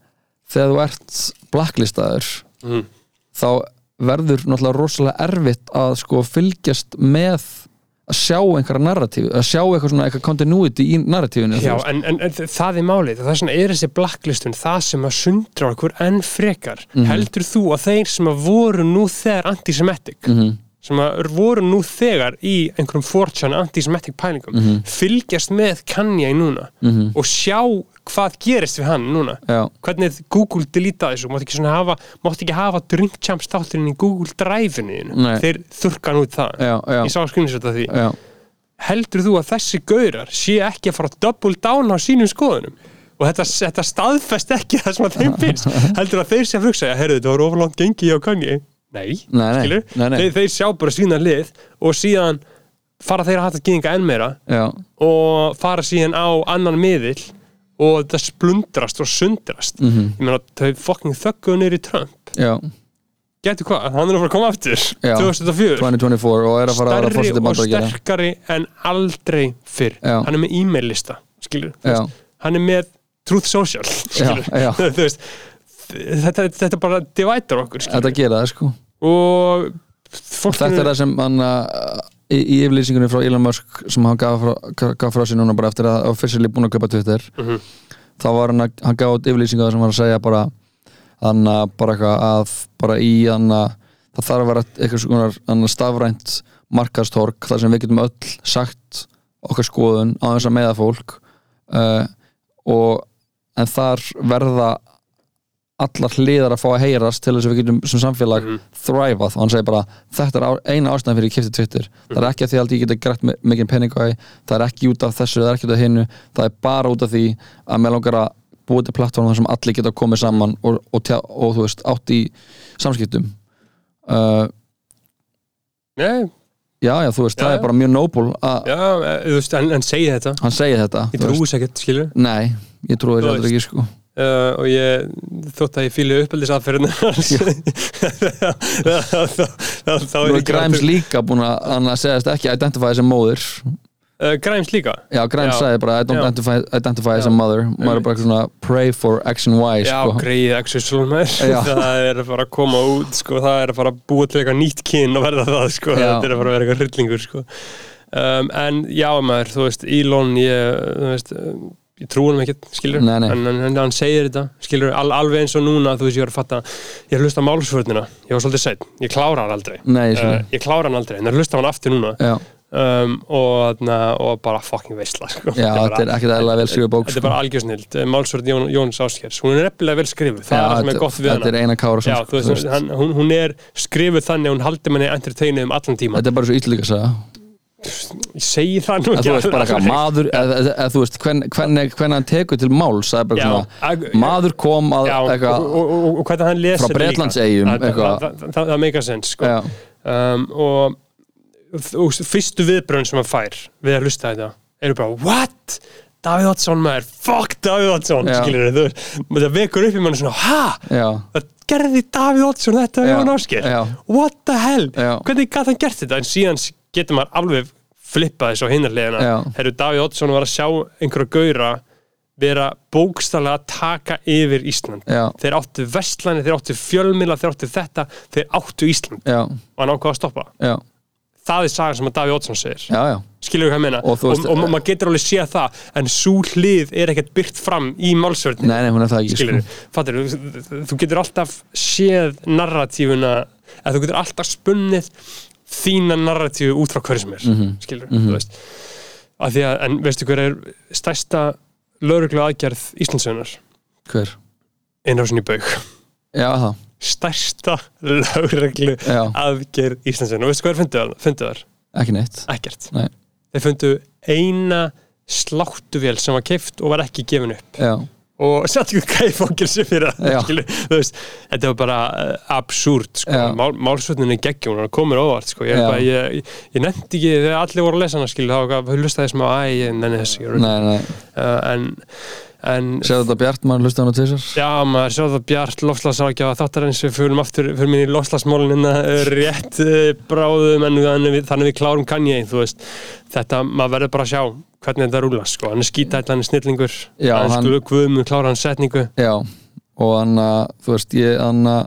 þegar þú ert blacklistaður mm. þá verður náttúrulega rosalega erfitt að sko fylgjast með að sjá einhverja narratíf að sjá eitthvað svona, eitthvað continuity í narratífinu þú Já, veist. en, en, en það er málið það er svona, er þessi blacklistun það sem að sundra okkur enn frekar Mhm. heldur þú að þeir sem að voru nú þegar antisemitic Mhm. sem að voru nú þegar í einhverjum 4chan antisemitic pælingum fylgjast með Kanye núna Mhm. og sjá hvað gerist við hann núna já, hvernig Google delita þessu mátt ekki, svona hafa, mátt ekki hafa drink champs þátturinn í Google Drive-inu þínu. Nei. þeir þurkan út það já, já, ég sá skrinnsvöld af því já. heldur þú að þessi gaurar sé ekki að fara að double down á sínum skoðunum og þetta, þetta staðfest ekki það sem að þeim <laughs> finnst heldur að þeir sem hugsa, heyrðu þetta voru oflangt gengi hjá Kanye nei, Nei, nei, skilur nei, nei. Þeir, þeir sjá bara sína lið og síðan fara þeir að hatta gýðinga enn meira já. og fara síðan á annan miðil og þetta splundrast og sundrast Mhm. ég meina, þau fucking þögguðu niður í Trump já. getur hvað, hann er að fara að koma aftur Já. 2004 2024 og er að fara að vera stærri fórsetið og bandaríkjana sterkari en aldrei fyrr Já. hann er með e-mail lista skilur, þú Já. veist, hann er með Truth Social skilur, <laughs> já. þú veist þetta, þetta bara divider okkur skilur, Þetta gera það sko og fólk Þetta er það sem hann uh, í, í yfirlýsingunni frá Elon Musk sem hann gaf frá, gaf frá sér núna bara eftir að officially búin að köpa Twitter Mhm. þá var hann að, hann gaf út yfirlýsingu þar sem var að segja bara hann að bara eitthvað að bara í hann að það þarf að vera eitthvað svona hann að stafrænt markastork þar sem við getum öll sagt okkar skoðun á þess að meða fólk uh, og en þar verða allar hliðar að fá að heyrast til þess að við getum sem samfélag Mhm. mm þræfað og hann segir bara þetta er á, eina ástæðan fyrir ég kipti Twitter Mhm. það er ekki að því að ég geta grætt mi- mikinn pening á því það er ekki út af þessu, það er ekki út af hinnu það er bara út af því að mér langar að búið til plattform þar sem allir geta komið saman og, og, tjá, og þú veist, átt í samskiptum uh, Nei, já, já, þú veist, Já, það já. er bara mjög noble að já, eh, þú veist, en, en segi þetta hann segir þetta ég þú trúi veist. þess ekkert, skilur nei, ég Þú trúi þetta heldur ekki sko uh, og ég þótt að ég fíli <laughs> uppeldisafferðin þá þá er Nú er Grimes líka búin að hann að segja ekki identify sem móðir Uh, Grimes líka Já, Grimes Já. sagði bara I don't Já. identify, identify as Já. a mother maður er bara svona pray for action Y Já, sko. greið exosólum er Já. <laughs> það er að fara að koma út sko, það er að fara að búa til eitthvað nýtt kyn og verða það, sko, Já. þetta er að fara að vera eitthvað hryllingur sko. um, en já maður þú veist, Elon ég, þú veist, um, ég trú hann ekki, skilur Nei, nei. En, en, en hann segir þetta, skilur al, alveg eins og núna, þú veist, ég var að fatta ég hlusta á málsvörnina, ég var svolítið sætt, ég klára hann aldrei Nei, ég uh, skilur ég klára hann aldrei, en það hlusta á hann aftur núna Já, um, og, na, og bara fucking veistla sko. Já, þetta er ekkert eðlilega vel skrifa bók sko. Þetta er bara algjörsnild, Málsvörð Jón, Jóns Áskers hún er nefnilega vel skrifuð, það er það sem er gott við Þetta hana er sko, eina kára Já, þú veist, hann, hún, hún er skrifuð þannig að hún haldi manni entertainuð um allan tíma Þetta er bara svo ítlíka að segja Ég segi það nú að ekki þú veist bara eitthvað maður eða eða- eða þú veist hvern- hvernig hvern hann tekur til máls það er bara Já, ag- svona maður kom að Já, eitthvað og, og, og, og hvernig hann lesi Frá Bretlandseyjum, eitthvað. það, það, það, það meika sens sko. Já. um, og, og fyrstu viðbröðin sem hann fær við að hlusta þetta eru bara what? Davíð Oddsson maður, fuck Davíð Oddsson Já. skilur þau, það vekur upp í manni svona, ha? já, Það gerði Davíð Oddsson þetta við Já, Jón Ásker já. what the hell, Já. hvernig gæti hann gert þetta en síðan getur maður alveg flippað þessu á hinnarlegina, Já. herru Davíð Oddsson var að sjá einhverja gauðra vera bókstallega að taka yfir Ísland já, þeir áttu vestlani, þeir áttu fjölmila þeir áttu þetta, þeir áttu Ísland já, og hann ákvað að stoppa já, það er sagan sem að Daví Oddsson segir já, já. skilur við hvað ég meina Og og, þú veist- eh, og, maður getur alveg séð það en svo hlið er ekkert byrt fram í málsvörðin nei, nei, hún er það ekki skilur sko. við, fattir þú þú getur alltaf séð narratífuna eða þú getur alltaf spunnið þína narratífu út frá hverju sem er Mhm. skilur við, þú veist að því að, en veistu hver er stærsta lögreglu aðgerð Íslandsögunar hver, einrásin í baug já, það, stærsta lögreglu já, aðgerð Íslandsvein og veistu hvað er fundu þar? Fundu þar? ekki neitt Ekkert Nei. Þeir fundu eina sláttuvél sem var keift og var ekki gefin upp já, og satt ekki gæði fókilsi fyrir Já. það skilu, þú veist, þetta var bara uh, absúrt, sko, Já. Mál, málsvötninni geggjum, hún komur óvart, sko, ég, Já. bara, ég, ég, ég nefndi ekki þegar allir voru að lesa hana, skilu, þá var hvað hlustaði smá, æ, ég nenni þessi, ég er nei, nei uh, en, en sér þetta Bjart, maður hlusta hann á tísar Já, maður sjá það bjart lofslagsrákjáða þáttarins við fyrir aftur fyrir minni lofslagsmólinina rétt hérna, eh, bráðum en við- þannig við, þannig við klárum kann ég, þú veist þetta, maður verður bara að sjá hvernig þetta rúla sko, hann er skítæll, hann er snillingur Já, hann hann- sko guðum, klára hann setningu já, og hann að, þú veist, ég hann að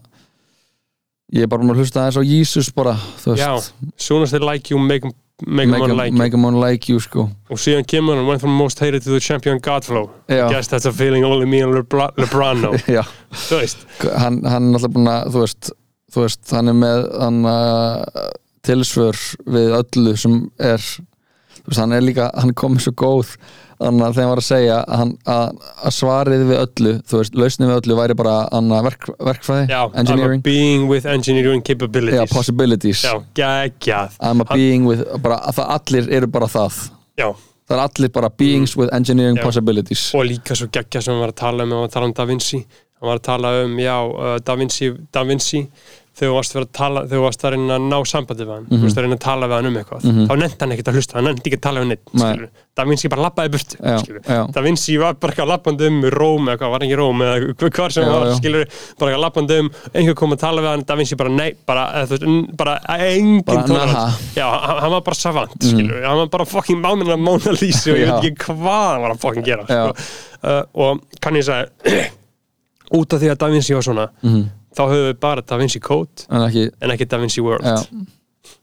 ég er bara búin að hlusta aðeins á Jesus bara, þú veist Já, soon as they like you, make, 'em- make, make Make them 'em- like make 'em on like you, sko you og síðan kemur hann, one from most hated to the champion Godflow, Já. guess that's a feeling only me and Lebra Lebron <laughs> know, já, þú veist hann, hann er alltaf búin að þú veist, þú veist, hann er með hann uh, tilsvör við öllu sem er þú veist, hann er líka, hann kom með svo góð þannig að þegar hann var að segja að hann, að, að svarið við öllu, þú veist, lausnið við öllu væri bara hann að verk, verkfræði Já, I'm a engineering, being with engineering capabilities já, possibilities Já, geggjað I'm a being with, bara, að það allir eru bara það, Já, það er allir bara beings with engineering Mm. Já. possibilities og líka svo geggja sem hann var að tala um hann var að tala um Da Vinci hann var að tala um, já, uh, Da Vinci, da Vinci þegar þú varst, að vera að tala, þegar þú varst að reyna að ná sambandi við hann, þú varst að reyna að tala við hann um eitthvað þá nefndi hann ekkert að hlusta, hann nefndi ekki að tala við neitt Mhm. Nei. skilurðu. Da Vinci bara labbaði burtu Já, skilurðu. já. Da Vinci var bara eitthvað labbandi um í Róm eða hvað, var ekki í Róm eða hv- hvar sem Já, hann var, já. skilur bara eitthvað labbandi um, einhver kom að tala við hann Da Vinci bara, nei, bara, eða, þú veist, n- bara engin Bara tolerance. naha. Mhm. já, hann hann var bara savant, skilur hann var bara fucking máminn að Mona Lisa og ég Já. veit ekki hvað hann var að fucking gera Já. sko. uh, og kann ég sagði <clears throat> út af því að Da Vinci var svona þá höfum við bara Da Vinci Code Mhm. en ekki, en ekki Da Vinci World sko. já,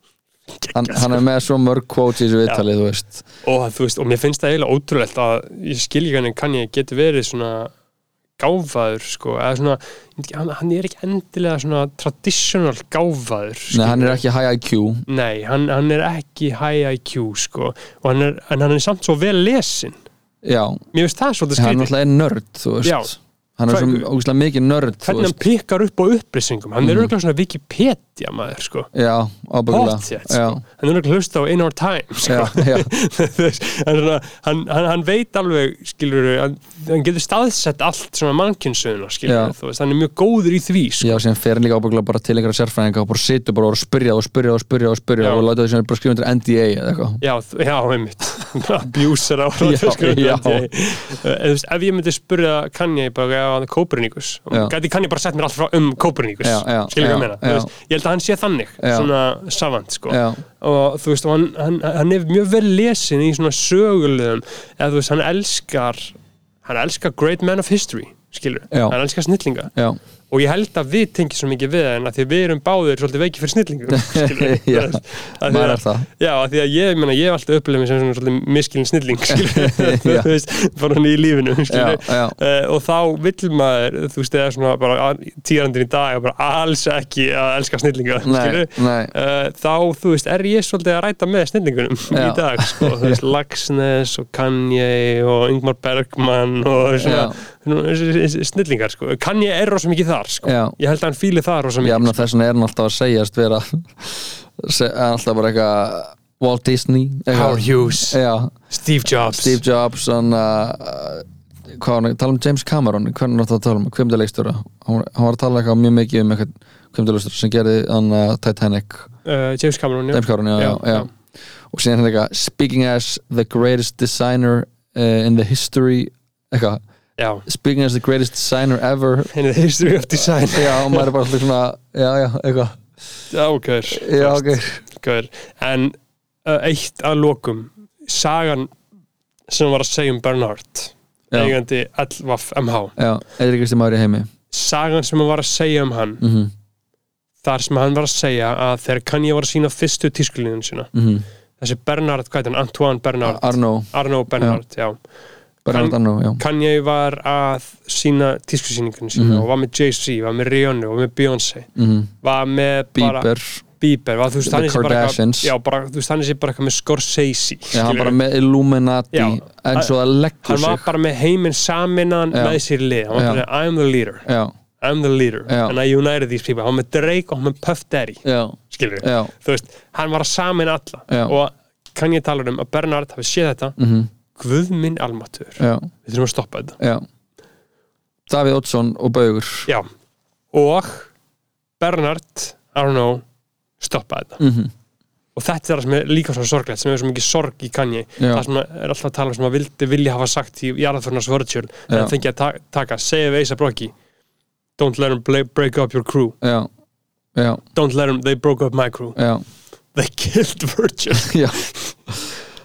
hann, hann er með svo mörg quotes í þessu viðtalið, þú veist og, þú veist, og mér finnst það eiginlega ótrúlegt að ég skilji hvernig kann ég geti verið svona gáfaður sko, eða svona, ég veit ekki, hann, hann er ekki endilega svona traditional gáfaður Nei, skilurðu. hann er ekki high IQ Nei, hann, hann er ekki high IQ sko, og hann er, en hann er samt svo vel lesin Já, mér finnst það svolítið hann skrítið náttúrulega er nörd, þú veist Já. Hann er Hvað- svo ógustlega mikið nörd, þú hvernig hann veist Mm. pikkar upp á upplýsingum hann er auðvitað svona Wikipedia maður sko. Já, ábyggulega Pottet, sko. Já, hann er auðvitað hlusta á In Our Time sko. já, já, <laughs> Þú veist, hann, er svona, hann, hann, hann veit alveg skilur, hann, hann getur staðsett allt svona mannkynnsöðuna Já. skilur, þú veist, hann er mjög góður í því sko. já, sem fer hann líka ábyggulega bara til einhverja sérfræðinga og bara situr bara og spyrja og spyrja og spyrja og Já. spyrja og láta þess að bara skrifa undir NDA eða eitthvað Já, þ- já, einmitt <laughs> Abjúsar á sko, Já, já. Ef, Eh, ef ég myndi spurja Kanye bara að hann er Kopernikus Já. gæti Kanye bara sett mér allt frá um Kopernikus Já, já, skilur já, ég meina já. Þú veist, ég held að hann sé þannig Já. svona savant sko Já, og þú veist og hann, hann, hann er mjög vel lesin í svona sögulegum eða þú veist hann elskar hann elskar great men of history skilur, Já. hann elskar snillinga já, og ég held að við tengjum svo mikið við það en að því við erum báðir svolítið veiki fyrir <laughs> snillingum skilurðu, þú Já, veist. Af því maður að- er það Já, af því að ég, ég meina, ég hef alltaf upplegað mig sem svona svolítið miskilin <laughs> snilling skilurðu. Já. þú veist, bara hann í lífinu já, skilurðu. já, Uh, og þá vill maður, þú veist, eða svona bara týrandir í dag og bara alls ekki að elska snillinga nei, nei uh, þá, þú veist, er ég svolítið að ræta með snillingunum <laughs> í Já. dag, sko, þú <laughs> veist, Laxness og Kanye og Ingmar Bergman og svona, Já. nú, s- s- snillingar, sko, Kanye er rosa mikið þar, sko, Já. ég held að hann fíli það rosa Já, mikið, menn þess vegna er hann alltaf að segjast vera <laughs> se, alltaf bara eitthvað Walt Disney eitthvað. Howard Hughes, Já, Steve Jobs Steve Jobs hann, uh, hvað var hann, tala um James Cameron hvernig hann átti að tala um, kvimdaleikstjóra hann, var- hann var að tala eitthvað mjög mikið um eitthvað kvimdaleikstjóra sem gerði hann uh, Titanic uh, James Cameron, já, James Cameron, já, já, Já, já. já. og síðan hann eitthvað speaking as the greatest designer uh, in the history eitthvað, já, speaking as the greatest designer ever henni the history of design já, og maður er bara alltaf svona já, já, eitthvað já, okkur, já, ok, okkur en uh, eitt að lokum sagan sem var að segja um Bernhard Já. eigandi Elvaf MH já, eða Kristi Mári heimi sagan sem var að segja um hann mhm, mhm þar sem hann var að segja að þegar Kanye var að sína fyrstu tískulíðun sína mhm. þessi Bernard, hvað er hann, Antoine Bernard Arno, Arno Bernard, já, Bernard Kann- Arno, já Kanye var að sína tískusýningun sína Mhm. og var með Jay-Z, var með Rihanna og með Beyoncé mhm, var með bara Bieber Bieber var, þú veist, The hann er sér bara Kardashians. eitthvað já, bara, þú veist, hann er sér bara eitthvað með Scorsese Já, hann skilurðu. bara með Illuminati Já. en svo það leggur hann var sig bara með heiminn saminnan Já. með sér lið, hann var Já. bara, I'm the leader Já, I'm the leader, Já. and I united these people hann var með Drake og hann með Puff Daddy já, skilur já, þú veist, hann var að samin alla Já. og kann ég tala um að Bernard hafi séð þetta, mhm, guð minn almatur já, við þurfum að stoppa þetta já Davíð Oddsson og Baugur Já. og Bernard, I don't know stoppa þetta mhm, og þetta er það sem er líka svo sorglegt sem er svo mikið sorg í kanji Já. það sem er alltaf að tala um sem að vildi vilja hafa sagt í jarðaförnars virtual en Já. það fengi að ta taka, segja við Eisa Brokki don't let them bla- break up your crew Já, já, don't let them, they broke up my crew <laughs> já, they killed virtual já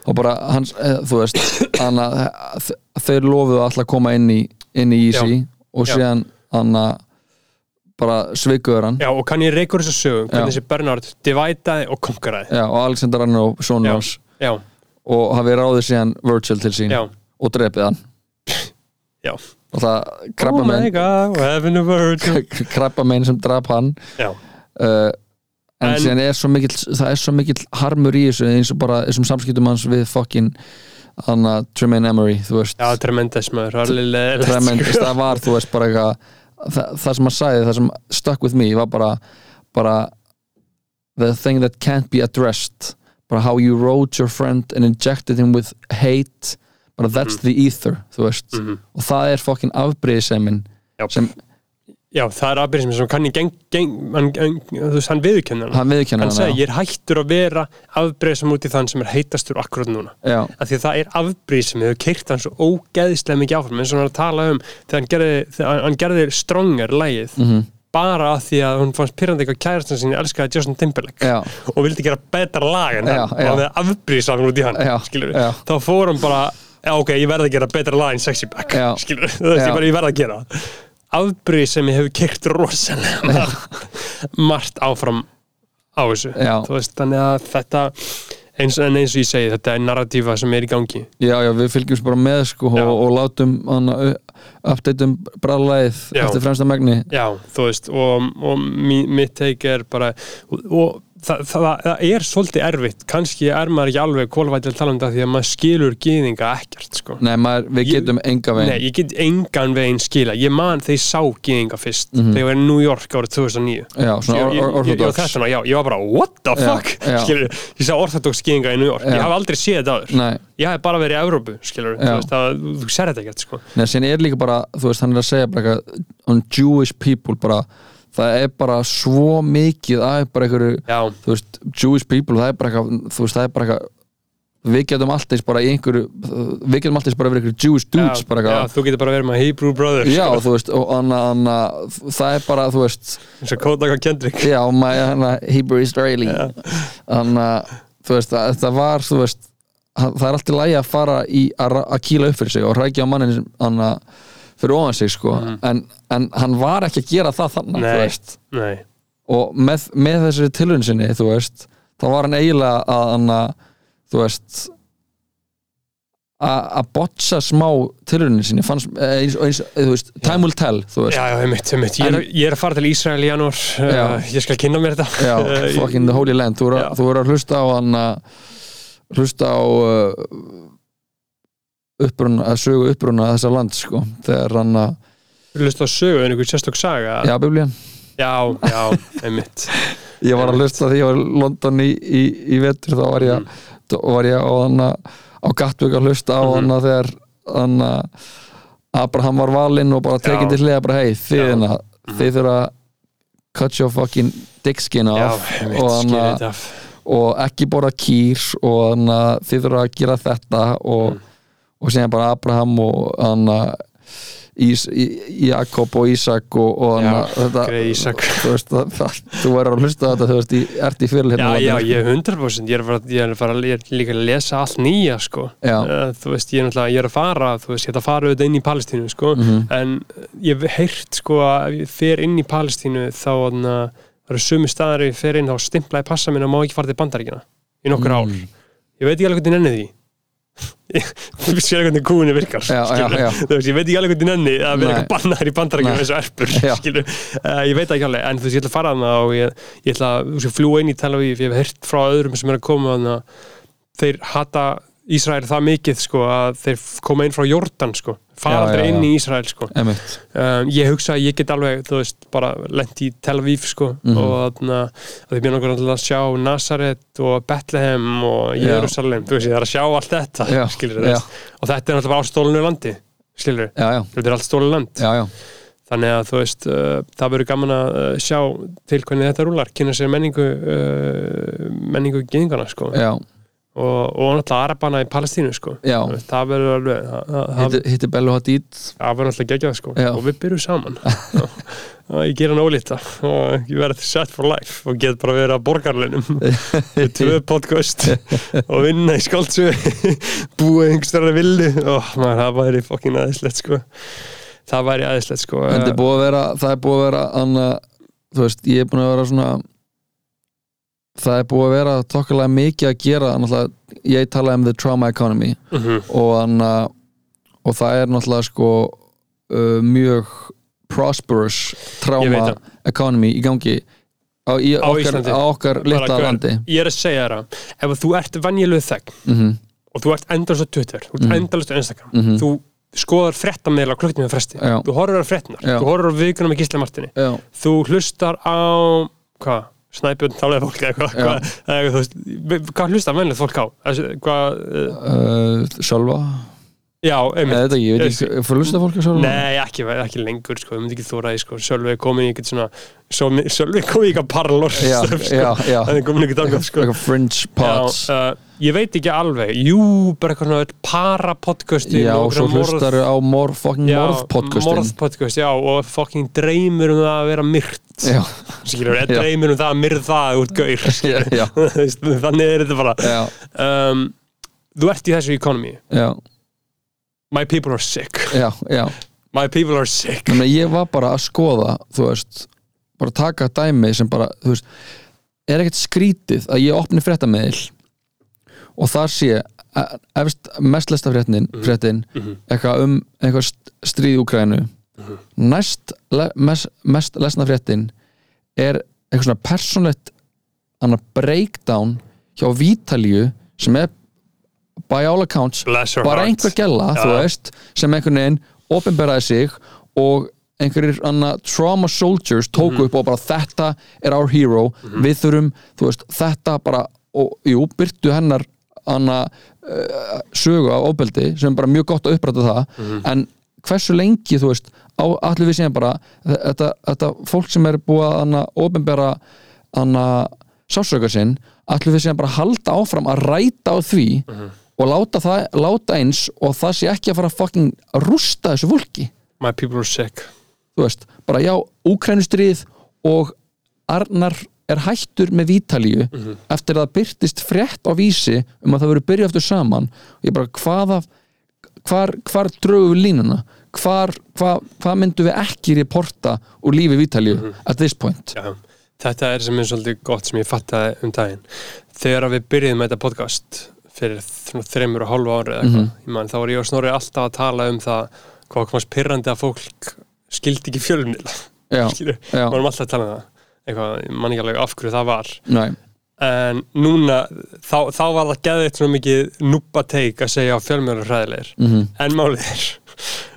og bara hans, eh, þú veist hann að þe- þeir lofuðu alltaf að koma inn í inn í Easy og Já. síðan hann að bara sveikuður hann Já, og kann ég reykur þess að sögum Já. um hvernig þessi Bernard divætaði og konkaraði Já, og Alexander Arno, son Já. hans Já, og hafi ráðið síðan Virgil til sín já, og drepið hann já og það krabba Oh my menn god, we're having a word <laughs> krabba menn sem drap hann Já, uh, en, En- síðan er svo mikill það er svo mikill harmur í þessu eins og bara þessum samskiptum hans við fucking hann að Tremaine Emery þú veist já, tremendis maður það er alveg leiðilegt, Tremaine, <laughs> sko. það var þú veist bara eitthvað það, það sem hann sagði, það sem stuck with me var bara, bara the thing that can't be addressed bara how you rode your friend and injected him with hate bara that's the ether, þú veist Mhm. og það er fucking afbreyðisemin Já. sem Já, það er aðbyrðismi sem kann ég geng, geng, hann, hann, þú veist, hann viðurkennar hann hann viðkennir hann hana, segi, ég er hættur að vera afbyrðisam út í þann sem er heitastur akkurat núna já. já, af því að það er afbyrðismi, þau keirt hann svo ógeðislega mikið áfram eins og hann er að tala um þegar hann gerði, þegar hann gerði strongar lægið mhm bara af því að hún fannst pyrrandi eitthvað kærastan sinni elskaði Justin Timberlake já, og vildi gera betra lag en Já, hann já. og það afbrísa hann út í hann Já, skilurðu. já. þá fór hann bara já ok, ég verði að gera betra lag en Sexy Back Já. skilur, <laughs> það er Já. bara ég verði að gera afbríð sem ég hef kyrkt rosalega margt áfram á þessu Já. Þú veist, þannig að þetta eins, en eins og ég segi, þetta er narratífa sem er í gangi já, já, við fylgjumst bara með sko Já. og, og látum hana, updateum bræðlæðið Já. eftir fremsta megni já, þú veist, og, og mi- mitt teik er bara og, og það, það, það er svolítið erfitt kannski er maður ekki alveg kólvætt til talanda því að maður skilur gýðinga ekkert sko. nei, maður, við Ég- getum enga veginn Nei, ég get engan veginn skila Ég man þegar ég sá gyðinga fyrst Mhm. Þegar ég var í New York árið 2009 já, svona Ég- or- ég- or- ég- ég var orthodox 13 ára, já, ég var bara what the Já, fuck já. skilur, ég sá orthodox gyðinga í New York Já. ég haf aldrei séð þetta aður nei, ég hef bara verið í Evrópu skilur, þú, Já. veist, að, þú sér þetta ekkert sko. nei, síðan er líka bara þú veist, hann er að segja bara eitthvað on Jewish people bara, það er bara svo mikið að bara einhverju já, þú veist, Jewish people, það er bara eitthvað þú veist, það er bara eitthvað við getum allt eins bara í einhverju við getum allt eins bara verið einhverju Jewish dudes já, bara já, eitthvað þú getur bara verið með Hebrew Brothers Já, þú veist, og annað, annað, það er bara, þú veist, eins og Kodaka Kendrick já, maður, hana, Hebrew Israeli, þannig að, þú veist, að, það var, þú veist, hann- það er allt í lagi að fara í, að, ra- að kýla upp fyrir sig og rækja á mannin, hann að, fyrir ofan sig sko en, en hann var ekki að gera það þannig þú Mhm. Nei. veist nei, og með, með þessari tilhun sinni þú veist, þá var hann eiginlega að hann að, þú veist að að botsa smá tilhunin sinni fannst, eh, eins, eins, þú veist, time will tell þú veist, já, já, einmitt, einmitt ég, er, ég er að fara til Ísrael í janúar uh, Já. ég skal kynna mér þetta <laughs> já, Eh, fucking the holy land þú eru Já. að, þú eru að hlusta á hann að hlusta á uh, uppruna, að sögu uppruna þessa land, sko, þegar hann að hlusta á sögu en einhver sérstök saga já, biblían, já, já, einmitt ég var að hlusta því ég var í London í, í, í vetur þá var ég, mm. var ég á hann að á Gatwick að hlusta á Mm-hmm. hann að þegar hann að Abraham var valinn og bara tekin Já. til hliða bara hei, þið Já. Mm. hérna, þið þurfa að cut your fucking dick skin já, off einmitt, og hann skilja að þetta af og ekki borða kýr og þannig að þið þurfa að gera þetta og, Mm. og síðan bara Abraham og þannig að Ís, Í- Jakob og Ísak og, og Já, þannig að grey Ísak. þú veist það, það, þú verður að hlusta á þetta þú veist, í, ert í fyrir Já, hérna já, ég er 100% ég er, bara, ég er, bara, ég er líka að lesa allt nýja sko. Já. Eh, þú veist, ég er náttúrulega ég er að fara, þú veist, ég ætla að fara auðvitað inn í Palestínu sko. Mhm. en ég hef heyrt sko, að ef ég fer inn í Palestínu þá þarna, það eru sumi staðar ef ég fer inn þá stimpla ég passa mín og má ekki fara til bandaríkina í nokkur Mm. ár ég veit ekki alveg hvernig nenni því <laughs> ég sé alveg hvernig kúinu virkar Já, já, skilur. já. Þú veist, ég veit ekki alveg hvernig nenni að vera Nei. eitthvað bannaður í bandarækjum Nei. eins og erpur Já. skilur. uh, ég veit það ekki alveg, en þú veist, ég ætla að fara þarna og ég, ég ætla að þú veist, fljúa inn í Tel Aviv, ég hef heyrt frá öðrum sem er að koma þarna þeir hata Ísrael það mikið sko, að þeir koma inn frá Jordan sko. fara Já, já, aldrei inn já. í Ísrael sko Einmitt. um, ég hugsa að ég get alveg þú veist, bara lent í Tel Aviv sko, Mhm. og þannig að því mér langar náttúrulega að sjá Nazaret og Bethlehem og Já. Jerusalem, þú veist, ég þarf að sjá allt þetta Já, skilur já. þess, og þetta er náttúrulega bara á stólinu landi skilur, já, já, þetta er allt stólinu land já, já, þannig að þú veist, uh, það verður gaman að uh, sjá til hvernig þetta rúlar kynna sér menningu uh, menningu gyðingana sko já, og, og náttúrulega arabana í Palestínu sko já. Þú veist, það verður alveg það, það- það, hitti, hitti Bellu Hadid það var náttúrulega geggjað sko Já. og við byrjum <laughs> saman og ég ger hann ólita og ég verði set for life og get bara verið að borgarleinum <laughs> við tvö podcast og vinna í skáltsu <laughs> búa einhverstara villu og maður, það væri fokkin aðeinslegt sko það væri aðeinslegt sko Þetta er búið að vera, það er búið að vera anna, þú veist, ég er búin að vera svona það er búið að vera tokkulega mikið að gera náttúrulega, ég talaði um the trauma economy Mhm, og, anna, og það er náttúrulega sko uh, mjög prosperous Ég trauma veit það. economy í gangi á, í Á okkar, Íslandi. á okkar Bara litla hver- landi ég er að segja þér það, ef þú ert venjuleg þegn mm -hmm, og þú ert endalast á Twitter, þú ert Mhm. endalast á Instagram Mhm. þú skoðar fréttameðla á klukknum með fresti, Já. þú horfur á fréttnar Já. þú horfur á vikunum með Gísla Martini já, þú hlustar á hvað, snæpjörn talaði fólk eða hvað, Já. hvað, eða þú veist, við- hvað hlustar mennilegt fólk á Þessi, hvað, eh, uh, sjálfa já, eða einmitt þetta ekki, ég veit ekki, fyrir lusta fólk að sjálfa Nei, ekki, ekki lengur, sko, við myndum ekki þóra sko. Sölvi er komin í eitthvað svona Sölvi Sölvi er komin í eitthvað parlor já, stöf, <laughs> sko. já, já, hann er komin ekki þangað sko. eitthvað Já, fringe pods uh, ég veit ekki alveg Jú, bara eitthvað svona parapodcasti Já, og svo hlustaru á morð, fucking morðpodcastin Morðpodcast, já, og fucking dreymir um það að vera myrt Já, skilur, eða Já. dreymir um það að myrða út gaur skilur. Já. <laughs> Þú veist, þannig er þetta bara já, um, þú ert í þessu economy já, my people are sick já, já my people are sick Þannig að ég var bara að skoða, þú veist bara taka dæmi sem bara, þú veist er ekkert skrítið að ég opni fréttameðil og þar sé e- efst mest lesta fréttin, fréttin eitthvað um eitthvað st- stríð Úkrænu næst le, mest, mest lesna fréttin er eitthvað svona persónlegt annar breakdown hjá Vítalíu sem er by all accounts bless your bara heart einhver gæla, Já. þú veist sem einhvern veginn opinberaði sig og einhverjir anna, trauma soldiers tóku Mhm. upp og bara þetta er our hero, við þurfum þú veist, þetta bara og jú, byrtu hennar anna, uh, sögu af ofbeldi sem er bara mjög gott að uppræta það Mhm. en hversu lengi, þú veist á allir við séum bara þetta, þetta fólk sem er búið að anna, opinbera anna, sásöka sinn allir við séum bara að halda áfram að ræta á því og láta, það, láta eins og það sé ekki að fara að fucking rústa þessu fólki my people are sick þú veist, bara já, úkrænustrið og Arnar er hættur með Vítalíu Mhm. eftir að það byrtist frétt á vísi um að það verið byrja aftur saman og ég bara hvaða hvar, hvar drögu við línuna hvar, hvar, hvað myndum við ekki reporta úr lífi Vítalíu Mhm. at this point Já, þetta er sem er svolítið gott sem ég fattaði um daginn. Þegar að við byrjuðum með þetta podcast fyrir svona þreymur og hálfu árið eða Mhm. eitthvað, ég man, þá var ég og Snorri alltaf að tala um það hvað komast pyrrandi að fólk skildi ekki fjölmiðla, <laughs> já, skilur, já, varum alltaf að tala um það eitthvað, ég man ekki alveg af hverju það var næ en núna, þá, þá var það geðið svona mikið núpa teik að segja að fjölmiðlar eru hræðilegir mm En málið er,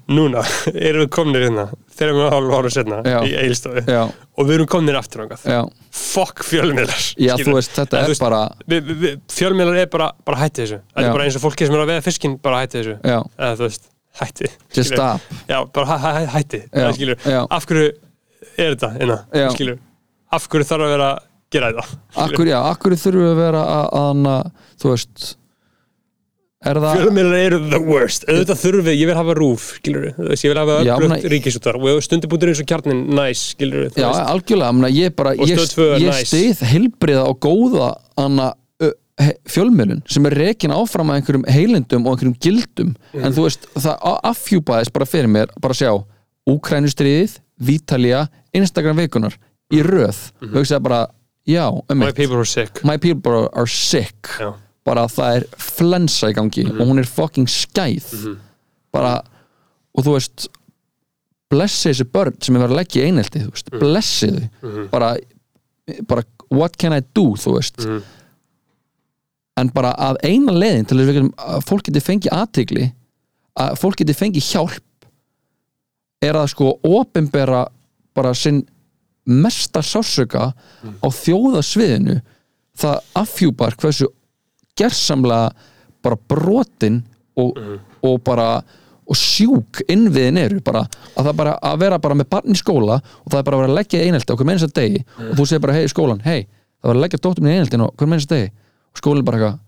núna erum við komnir hérna, þegar við hálfa ára setna Já. í eilstofu já, og við erum komnir aftur ángað. já, Fuck fjölmiðlar. já, skilur. þú veist En þetta er þú veist, bara Við, við- við, fjölmiðlar er bara, bara hætti þessu. Þetta Já. er bara eins og fólki sem er að veða fiskinn bara hætti þessu. já, Eða þú veist, hætti. just skilur. stop Já, bara hæ, hæ, hæ- hætti. já, Eða, skilur, já, af hverju er þetta innan? Já. Skilur, af hverju þarf að vera að gera þetta? akkur, já, akkur þurfum við að vera að, að hana, þú veist er það Fjölmiðlar eru the worst Auðvitað þurfi, ég vil hafa rúf, skilur við Ég vil hafa Já, öflugt menna- ríkisútar og stundibútur eins og kjarnin, næs, skilur við Já, algjörlega, mena, ég bara Og ég, Stöð tvö er ég næs. stið heilbriða og góða hana, ö, he- fjölmiðlun sem er rekin áfram að einhverjum heilindum og einhverjum gildum Mm. en þú veist, það a- afhjúpaðist bara fyrir mér, bara sjá Úkrænustriðið, Vítalía, Instagram vikunar í röð, mm -hmm. hugsaði bara já, um Mhm. My people are sick my people are sick Já. bara það er flensa í gangi og hún er fucking skæð bara, og þú veist blessi þessi börn sem er verið að leggja í einelti, þú veist, blessi þau bara, bara what can I do, þú veist Mhm. en bara að eina leiðin til þess að við getum- að fólk geti fengið athygli að fólk geti fengið hjálp er að sko opinbera bara sinn mesta sásöka á þjóðasviðinu það afhjúpar hversu gersamlega bara brotin og, og bara og sjúk innviðin eru bara, að það bara að vera bara með barn í skóla og það er bara að vera að leggja í einelti á hver mennins að degi og þú segir bara hei skólan, hei það var að leggja dóttum í eineltin á hver mennins að degi og skólinn bara eitthvað,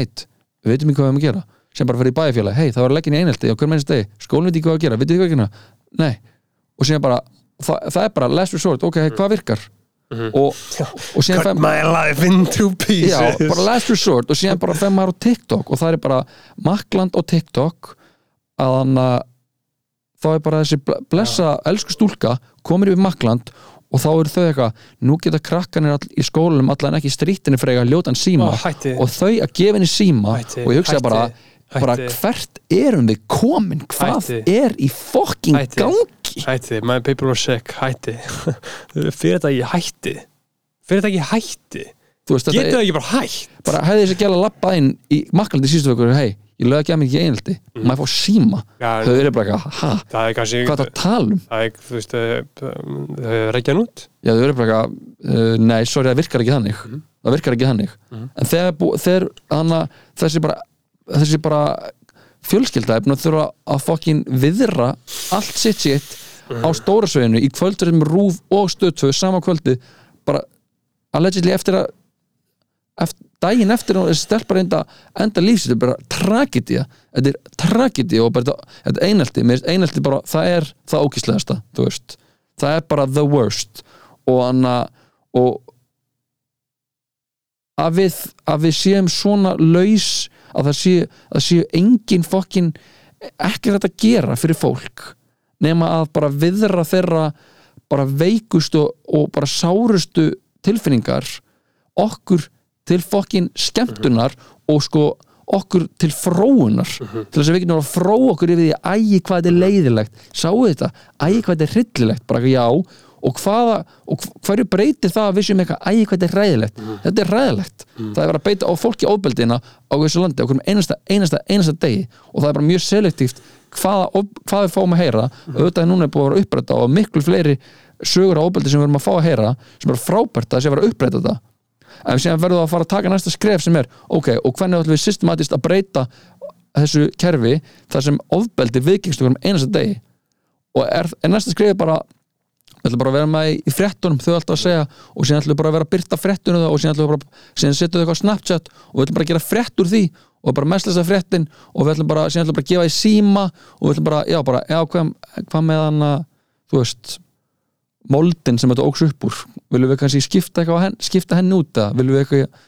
ætt, við veitum ekki hvað við erum að gera sem bara fyrir í bæjarfélag, hei það var að leggja í einelti á hver mennins að degi, skólinn veit ekki hvað við erum að gera veitum við hvað við erum að gera, nei og síðan bara, það, það er bara last resort ok, hvað virkar og, og síðan fæ- Cut my life into pieces Já, bara last resort og síðan bara þegar maður á TikTok og það er bara Makland og TikTok að hann að þá er bara þessi ble- blessa elsku stúlka komir yfir Makland og þá eru þau eitthvað, nú geta krakkanir all, í skólanum allan ekki í strítinni frega ljótan síma Ó, hætti. og þau að gefa henni síma Hætti, og ég hugsaði bara, hætti, bara hætti. hvert erum við komin, hvað Hætti. er í fucking Hætti. gangi Hætti, my people are sick, hætti <laughs> Fyrir þetta ég hætti Fyrir þetta ég hætti Þú veist, þetta Getur er- það ekki bara hætt bara hefði þessi gæla labbað inn í makkalandi síðustu vökur hei, ég lög ekki að mér ekki einhaldi maður fór síma, Já, þau eru bara eitthvað ha, Það er kannski hvað það tala um Það er, þú veist, þau reykja hann út já, þau eru bara eitthvað, uh, nei, sorry, það virkar ekki þannig það virkar ekki þannig en þegar, bú- þegar hana, þessi bara þessi bara fjölskylda er búin að þurfa að fokkin viðra allt sitt sitt á stóra sveinu í kvöldurinn með rúf og stöðtöð sama kvöldi bara allegedly eftir að eftir, daginn eftir að þessi stelpa reynda enda lífs, þetta er bara tragedía þetta er tragedía og bara þetta- þetta er einaldi, mér finnst einaldi bara það er það ókíslegasta, þú veist það er bara the worst og anna, og að við, að við séum svona laus að það séu, að séu engin fokkin ekki þetta gera fyrir fólk nema að bara viðra þeirra bara veikustu og bara sárustu tilfinningar okkur til fokkin skemmtunar og sko okkur til fróunar til þess að við getum að fróa okkur yfir því ægi hvað þetta er leiðilegt, sáu þetta ægi hvað þetta er hryllilegt, bara já og, hvaða, og hv- hverju breytir það að við séum eitthvað ægi hvað þetta er ræðilegt þetta er ræðilegt, það er verið að beita á fólki ofbeldina á þessu landi, okkur um einasta, einasta, einasta degi og það er bara mjög selektíft hvaða, of- hvað við fáum að heyra auðvitað er núna er búið að vera uppræta og miklu fleiri sögur á ofbeldi sem við erum að fá að heyra sem er frábært að þessi að vera að uppræta þetta en síðan verður það að fara að taka næsta skref sem er ok, og hvernig ætlum við systematist að breyta þessu kerfi þar sem ofbeldi viðgengst okkur um einasta degi og er, er næsta skref bara við ætlum bara að vera með í- í fréttunum þau alltaf að segja og síðan ætlum við bara að vera að byrta fréttunum það og síðan ætlum við bara, síðan setjum við eitthvað á Snapchat og við ætlum bara að gera frétt úr því og bara mestlesa fréttin og við ætlum bara, síðan ætlum við bara að gefa í síma og við ætlum bara, já bara, já hvað, hvað með hann að, þú veist moldin sem þetta óks upp úr viljum við kannski skipta eitthvað á henn, skipta henni út að viljum við eitthvað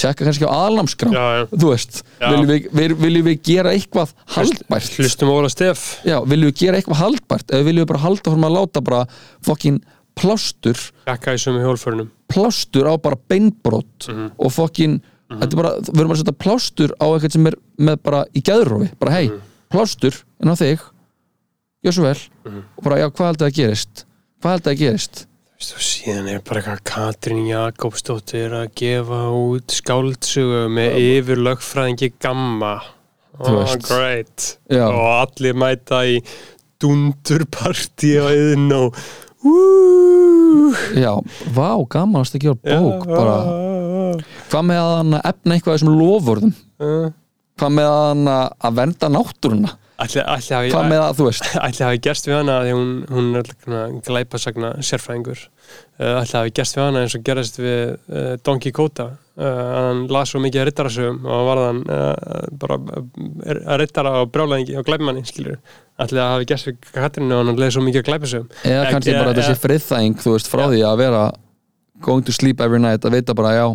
tjekka kannski á aðalnámskrá já, já. þú veist, Já. viljum við, við, viljum við gera eitthvað haldbært Hlustum á Óla Stef já, viljum við gera eitthvað haldbært eða viljum við bara halda fyrir að láta bara fokkin plástur, Jakka í sömu hjólförnum plástur á bara beinbrot og fokkin þetta er bara, við erum að setja plástur á eitthvað sem er með bara í gæðrófi, bara hei plástur inn á þig gjör svo vel, og bara já, hvað held að gerist hvað held að gerist Veist þú, síðan er bara eitthvað Katrín Jakobsdóttir að gefa út skáldsögu með yfir lögfræðingi Gamma oh, Þú veist. great Já. og allir mæta í dundurpartí á yðin og Woo! já, vá, gaman að gera bók bara, Ah, hvað með að hann efna eitthvað af þessum lofurðum hvað með að hann að vernda náttúruna Ah. Ætli, ætli hafi, hvað með að, þú veist ætli hafi gerst við hana því hún, hún er svona glæpasagna sérfræðingur uh, ætli hafi gerst við hana eins og gerðist við uh, Don Quixote uh, hann las svo mikið rittarasögum og varð hann uh, bara uh, rittara og brjálæðingi og glæpmanni skilur ætli að hafi gerst við Katrinu og hann leði svo mikið að glæpasögum eða Ekki- kannski eða- bara þetta sé friðþæging þú veist, frá Já. því að vera going to sleep every night, að vita bara, já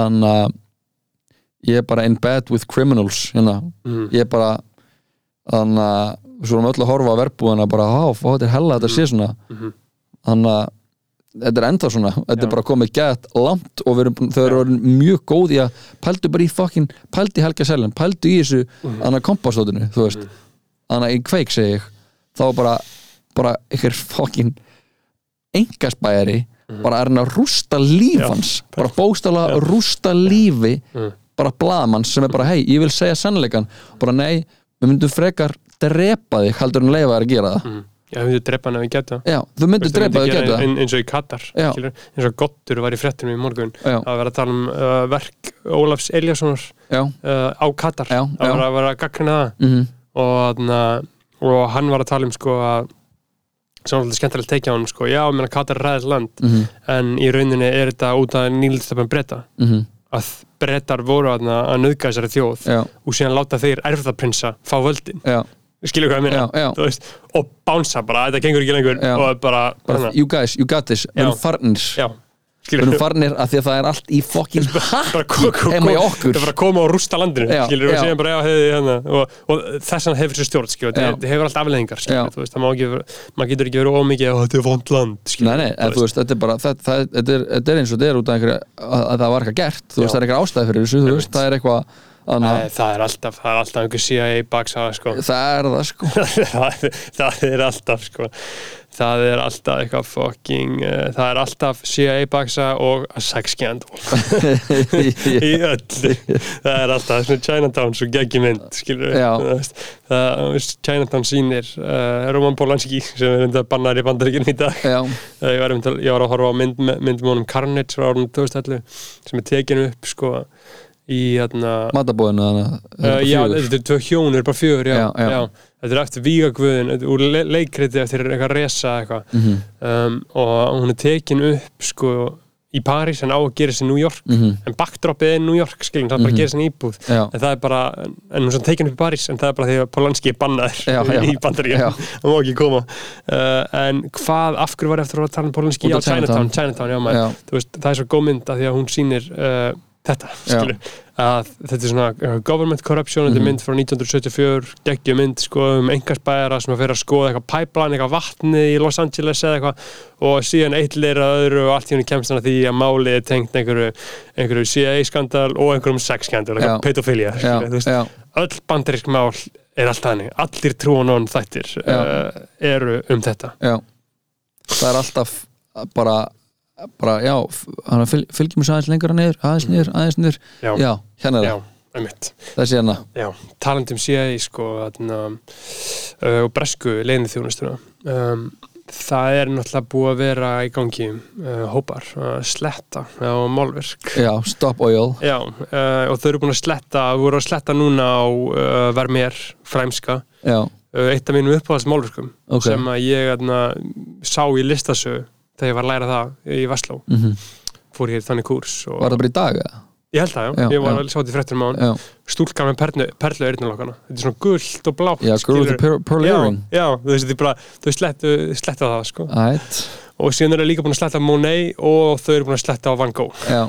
þannig að ég er bara in bed with criminals, hérna mm. ég er bara þannig að svo erum öll að horfa á verbúðina bara, há, fá, þetta er hella, þetta sé svona Mhm. þannig að þetta er enda svona, þetta Já. er bara komið gett langt og við erum, búin- þau eru orðin mjög góð í að pældu bara í fucking, pældu í Helga Seljan pældu í þessu, Mhm. þannig að kompastótinu þú veist, þannig að í kveik segi ég þá var bara, bara ykkur fucking engasbæri bara er hann að rústa líf Mhm. Já, hans bara bóstala rústa lífi Mm. bara blaðmann sem er bara hei, ég vil segja sannleikan bara nei, við myndum frekar drepa þig heldur en leifa þér að gera það Mm. já, við drepa hann ef við geta já, þú myndir drepa þig að gera það en, eins og í Katar Já. skilur, eins og Gottur var í fréttunum í morgun já, að vera að tala um uh, verk Ólafs Eliassonar já, uh, á Katar Já, að já. vera að vera að gaggrina það mhm, og, þarna, og hann var að tala um sko að sem var alltaf skemmtilegt tekið á hann sko, já, ég meina Katar er ræðið land mhm, en í rauninni er þetta út af nýlistöpum breyta mhm að breytar voru þarna að nöðga þessari þjóð já, og síðan láta þeir erfðaprinsa fá völdin, já, skilur hvað ég meina já, já Þú veist, og bánsa bara, þetta gengur ekki lengur Já. og bara, bara, hana, you guys, you got this, við erum Já. farnir já, við skilur erum farnir að því að það er allt í fucking <laughs> bara ko- ko- heima í ko- okkur. bara koma og rústa landinu Já, skilur, og já. síðan bara, já, hefði, hérna, og, og þessan hefur sér stjórn skilur, Já. þetta hefur allt afleðingar Já. skilur, þú veist, það má ekki, vera- maður getur ekki verið ómikið og þetta er vond land skilur, Nei, nei, en þú veist, þetta er bara það, það, þetta, er, þetta er eins og þetta er út af einhverja að, að það var eitthvað gert, þú veist, Já. það er eitthvað ástæði fyrir þessu, þú veist, það er eitthvað anna, Æ, það er alltaf, það er alltaf einhver CIA baksaga sko. það er það sko <laughs> það, er- það er alltaf sko. það er alltaf eitthvað fucking uh, það er alltaf CIA baksaga og a sex scandal í öllu það er alltaf svona Chinatown svo geggi mynd skilur við Já. Þú veist, það, þú veist, Chinatown sýnir uh, Roman Polanski sem er enda bannar í bandaríkinn í dag Já, Eh, ég var, einmitt að- ég var að horfa á mynd, myndum honum Carnage frá árunum 2011 sem er tekinu upp sko í hérna matabóðinu þannig Uh, já, þetta er tvö hjón, þetta er bara fjögur, já, Já, já, já. Þetta er eftir Vígagvöðin, þetta er úr le leikriti eftir eitthvað resa eitthvað Mhm, um, og hún er tekin upp sko í París en á að gera sér New York en backdropið er New York, skiljum, það er bara að gera sér íbúð mhm, Já, en það er bara, en hún er svo tekin upp í París en það er bara því að Polanski er bannaður Já, já. <laughs> í bandaríum, Já. hann má ekki koma uh, en hvað, af hverju var eftir að tala um Polanski á Út af Chinatown. Chinatown, Chinatown, já maður já, þú veist, það er svo góð mynd að því að hún sýnir uh, þetta, Já. skilur að þetta er svona uh, government corruption þetta er Mhm. mynd frá 1974, geggjum mynd sko um engarsbæðara sem að fyrir að skoða eitthvað pipeline, eitthvað vatni í Los Angeles eða eitthvað og síðan eitt leira að öðru og allt í henni kemst hann að því að máli er tengt einhverju, einhverju CIA-skandal og einhverjum sex-skandal, Já. eitthvað pedofilia já, skilur, þú veist, já, öll bandarísk mál er allt þannig, allir trúan og þættir Já. uh, eru um þetta já Það er alltaf bara bara, já, hann fylg, fylgjum þessu aðeins lengra niður, aðeins niður, aðeins niður Mm. Já. já, hérna er Já, það, um þessi hérna Já, talandi um CIA sko, þarna, uh, og bresku leiðinni þjónustuna um, það er náttúrulega búið að vera í gangi uh, hópar að sletta á málverk Já, stop oil Já, uh, og þau eru búin að sletta voru að sletta núna á uh, Vermeer fræmska, Já, uh, eitt af mínum uppáðast málverkum ok sem að ég atna, sá í listasögu þegar ég var að læra það í Vestló Mhm. fór ég í þannig kúrs og Var það bara í dag, eða? ég held það, já, Já, ég var já. að sjá þetta í fréttum á hann Já, stúlka með perlu, perlu eyrnalokkana þetta er svona gult og blátt já, girl with the skilurðu. pearl- pearl já, earring já, þú veist, þið bara, þau slettu, sletta það sko. Ætt, og síðan eru þau líka búin að sletta Monet og þau eru búin að sletta á Van Gogh já,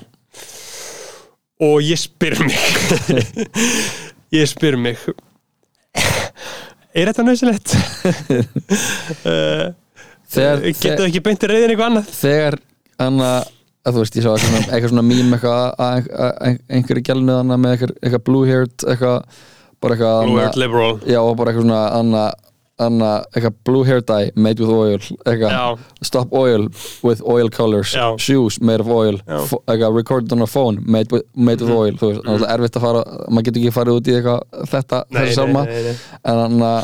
og ég spyr mig <laughs> ég spyr mig er þetta <laughs> nöðsilegt? þegar, eh, getur það ekki beinti reyðin eitthvað annað? þegar hann að að þú veist, ég sá eitthvað svona, eitthvað svona mím eitthvað að, að, að einhverju gælnið hann með eitthvað, eitthvað blue-haired eitthvað, bara eitthvað Blue annað- Earth Liberal já, og bara eitthvað svona anna, anna, eitthvað blue-haired dye made with oil eitthvað, Já. stop oil with oil colors Já. shoes made of oil Já. Mhm. fo- eitthvað, recorded on a phone made with, made with oil, þú veist, mm -hmm. erfitt að fara maður getur ekki farið út í eitthvað þetta, Nei, þessi nei, salma nei, nei. en hann að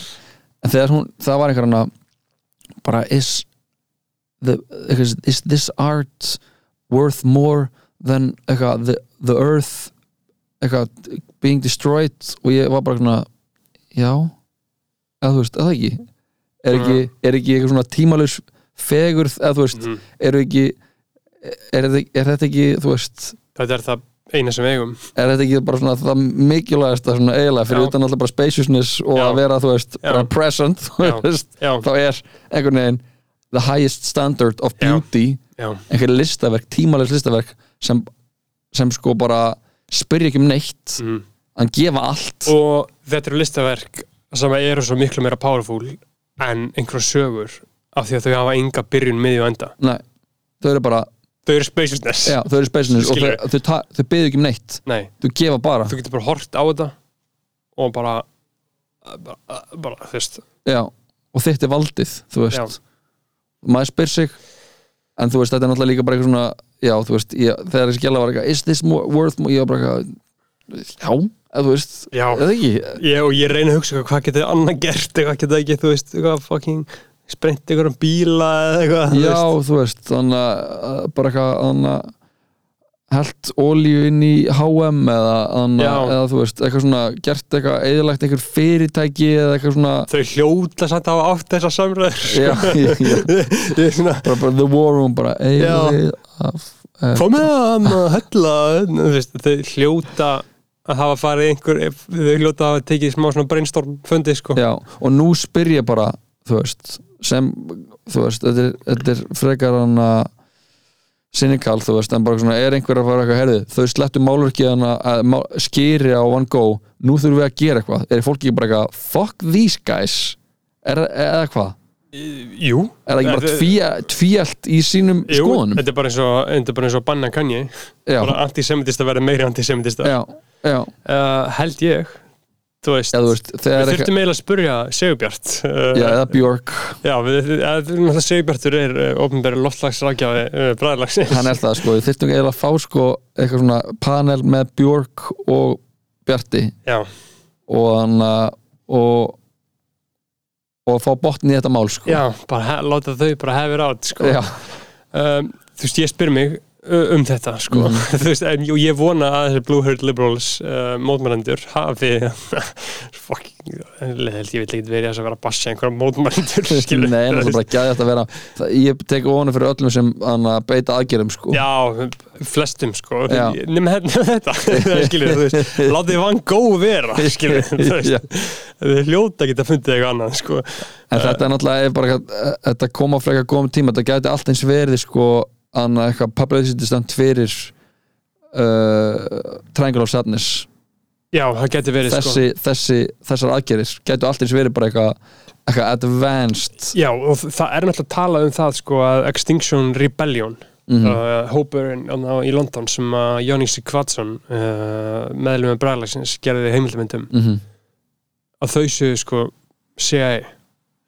en þegar hún, það var einhver hann að bara is the, eitthvað, is this art worth more than eitthvað, the, the earth eitthvað, being destroyed og ég var bara svona já, eða þú veist, eða ekki er ekki, er ekki eitthvað svona tímalus fegurð, eða þú veist Mhm. eru ekki er, þetta- er þetta ekki, þú veist þetta er það eina sem við eigum er þetta ekki bara svona það mikilvægasta svona eiginlega fyrir Já. utan alltaf bara spaciousness og Já. að vera þú veist, Já. bara present þú Já. veist, já, þá er einhvern veginn the highest standard of Já. beauty já, einhver listaverk, tímalis listaverk sem, sem sko bara spyrja ekki um neitt mm. hann gefa allt og þetta eru listaverk sem eru svo miklu meira powerful en einhverjum sögur af því að þau hafa enga byrjun miðju og enda Nei, þau eru bara, þau eru spaciousness já, þau eru spaciousness og Skilurðu? þau, þau, ta- þau byrja ekki um neitt Nei, þau gefa bara, þú getur bara hort á þetta og bara bara, bara þú veist já og þitt er valdið, þú veist já, maður spyr sig en þú veist, þetta er náttúrulega líka bara eitthvað svona já, þú veist, ég, þegar þessi gæla var eitthvað is this more, worth more, ég var bara eitthvað já, eða þú veist, já. eða ekki Ég, og ég reyna að hugsa hvað getið þið annað gert eitthvað getið þið ekki, þú veist, eitthvað fucking sprint eitthvað um bíla eða eitthvað þú já, veist. þú veist, þannig að að bara eitthvað, þannig að held olíu inn í H&M eða, þannig Já. að, eða þú veist, eitthvað svona gert eitthvað, eðilagt einhver fyrirtæki eða eitthvað <laughs> svona þau hljóta samt að hafa átt þessar samræður <laughs> já, <laughs> já, já, Ég er svona, bara, bara the war room bara Já. eigið af eh, komið hann að hella þú veist, þau hljóta að hafa farið einhver þau hljóta að hafa tekið smá svona brainstorm fundið sko Já, og nú spyr ég bara þú veist, sem þú veist, þetta er, þetta er frekar hann að sinikal, þú veist, en bara svona er einhver að fara eitthvað herðið, þau slettu málurkiðan að má- skýri á Van Gogh nú þurfum við að gera eitthvað, er fólki bara eitthvað fuck these guys er, eða hvað, jú, er það ekki bara Þetta- tvíja, tvíjalt í sínum jú skoðunum þetta er bara eins og, þetta er bara eins og banna kann ég já, bara antisemitista verða meiri antisemitista já, já, uh, held ég þú veist, já, þú veist þegar við er eitthvað, þurftum eiginlega að spurja Sigurbjart uh, já, eða Björk já, við, við, við, við, Sigurbjartur er uh, ofnbæri loftlagsrækjafi uh, bræðlagsins hann er það sko, við þyrftum eiginlega að fá sko eitthvað svona panel með Björk og Bjarti já, og hann að- og og að fá botn í þetta mál sko já, bara he- láta þau bara hefur átt sko. já, um, þú veist, ég spyr mig uh, um þetta, sko Mhm. <laughs> þú veist, en jú, ég vona að þessi Blue Herd Liberals uh, mótmælendur hafi <laughs> fucking, leðilt, ég vil ekki verið þess að vera að bassa einhverja <laughs> mótmælendur skilur. nei, það er bara gæði þetta að vera það, ég tek ofan fyrir öllum sem hann að beita aðgerðum sko Já, flestum sko Já. nema hérna- <laughs> þetta, <laughs> skilur þú veist látið vann góð vera, skilur þú Já. veist, þau hljóta að geta fundið eitthvað annað, sko en þetta er náttúrulega er bara, eitthvað- þetta kom á frekar góðum tíma þetta gæti allt eins verið sko hann að eitthvað publicity stand fyrir uh, Triangle of Sadness Já, það geti verið, sko þessi, þessi, þessar aðgerðir gætu allt eins verið bara eitthvað eitthvað advanced Já, og það er náttúrulega að tala um það sko að Extinction Rebellion mm uh, hópurinn þarna í London sem að Jóník Sikvatsson uh, meðlum með bræðlagsins gerði heimildamindum Mhm. að þau séu sko CIA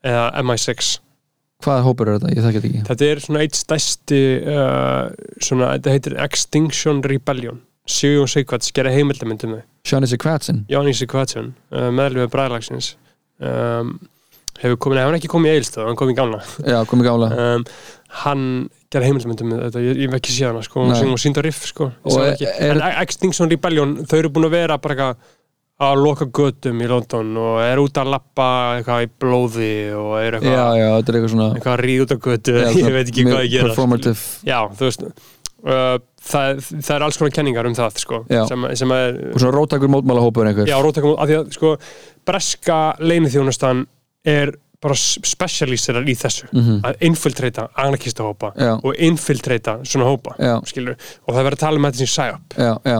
eða MI6 hvaða hópur er þetta? ég þekki þetta ekki þetta er svona eitt stærsti uh, svona, þetta heitir Extinction Rebellion Sigjón Sikvats gerði um heimildamindum Shani Kratsin Jóník Sikvatsson uh, meðlum með bræðlagsins um, hefur komið, nei, hann er ekki komið í Eilstöð hann kom í Gamla já, komið gála um, hann gerði heimildamöndum með þetta, ég, ég hef ekki séð hana sko, hún Nei. sem hún síndi á riff sko, ég Og sá það er- ekki. er- en Extinction Rebellion þau eru búin að vera bara eitthvað að loka götum í London og er út að lappa eitthvað í blóði og er já, eitthvað, já, þetta er eitthvað svona eitthvað að ríða út á götu Já, <laughs> ég svona veit ekki hvað ég gera sko. performative já, þú veist uh, það, það er alls konar kenningar um það sko, Já. sem, sem er og svona róttakur mótmála hópur einhver já, róttakum, af því að sko breska leinithjónustan er bara specialisterar í þessu Mhm. að infiltreita anarkistahópa Já. og infiltreita svona hópa já, skilur, og það verður að tala um þetta sem sæjap já, já,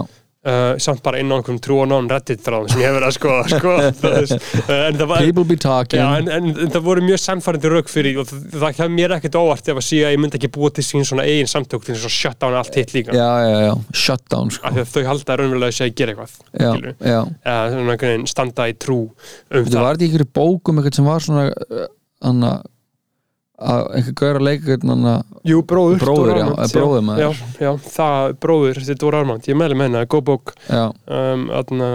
uh, samt bara inn á einhverjum trú og non reddit þráðum sem ég hef verið að skoða <laughs> <laughs> sko, þú veist. uh, en það var People be talking Já, en, en, en það voru mjög samfærandi rauk fyrir því og það, það kemur mér ekkert óvart ef að síða að ég myndi ekki búa til sín svona eigin samtök til þess að shut down allt hitt líka já, já, já, shutdown sko. af því að þau halda raunverulega að segja að gera eitthvað já, skilurðu. já. eða svona einhvern veginn standa í trú um Þetta var þetta í einhverju bókum eitthvað sem var svona uh, anna, að einhver gaur að leika einhvern anna, Jú, bróður Bróðir, Dóra já, Armand, eh, bróðir maður. já, já, það, bróður, þetta voru Armand Ég meðlum henni að góð bók já, um, atna,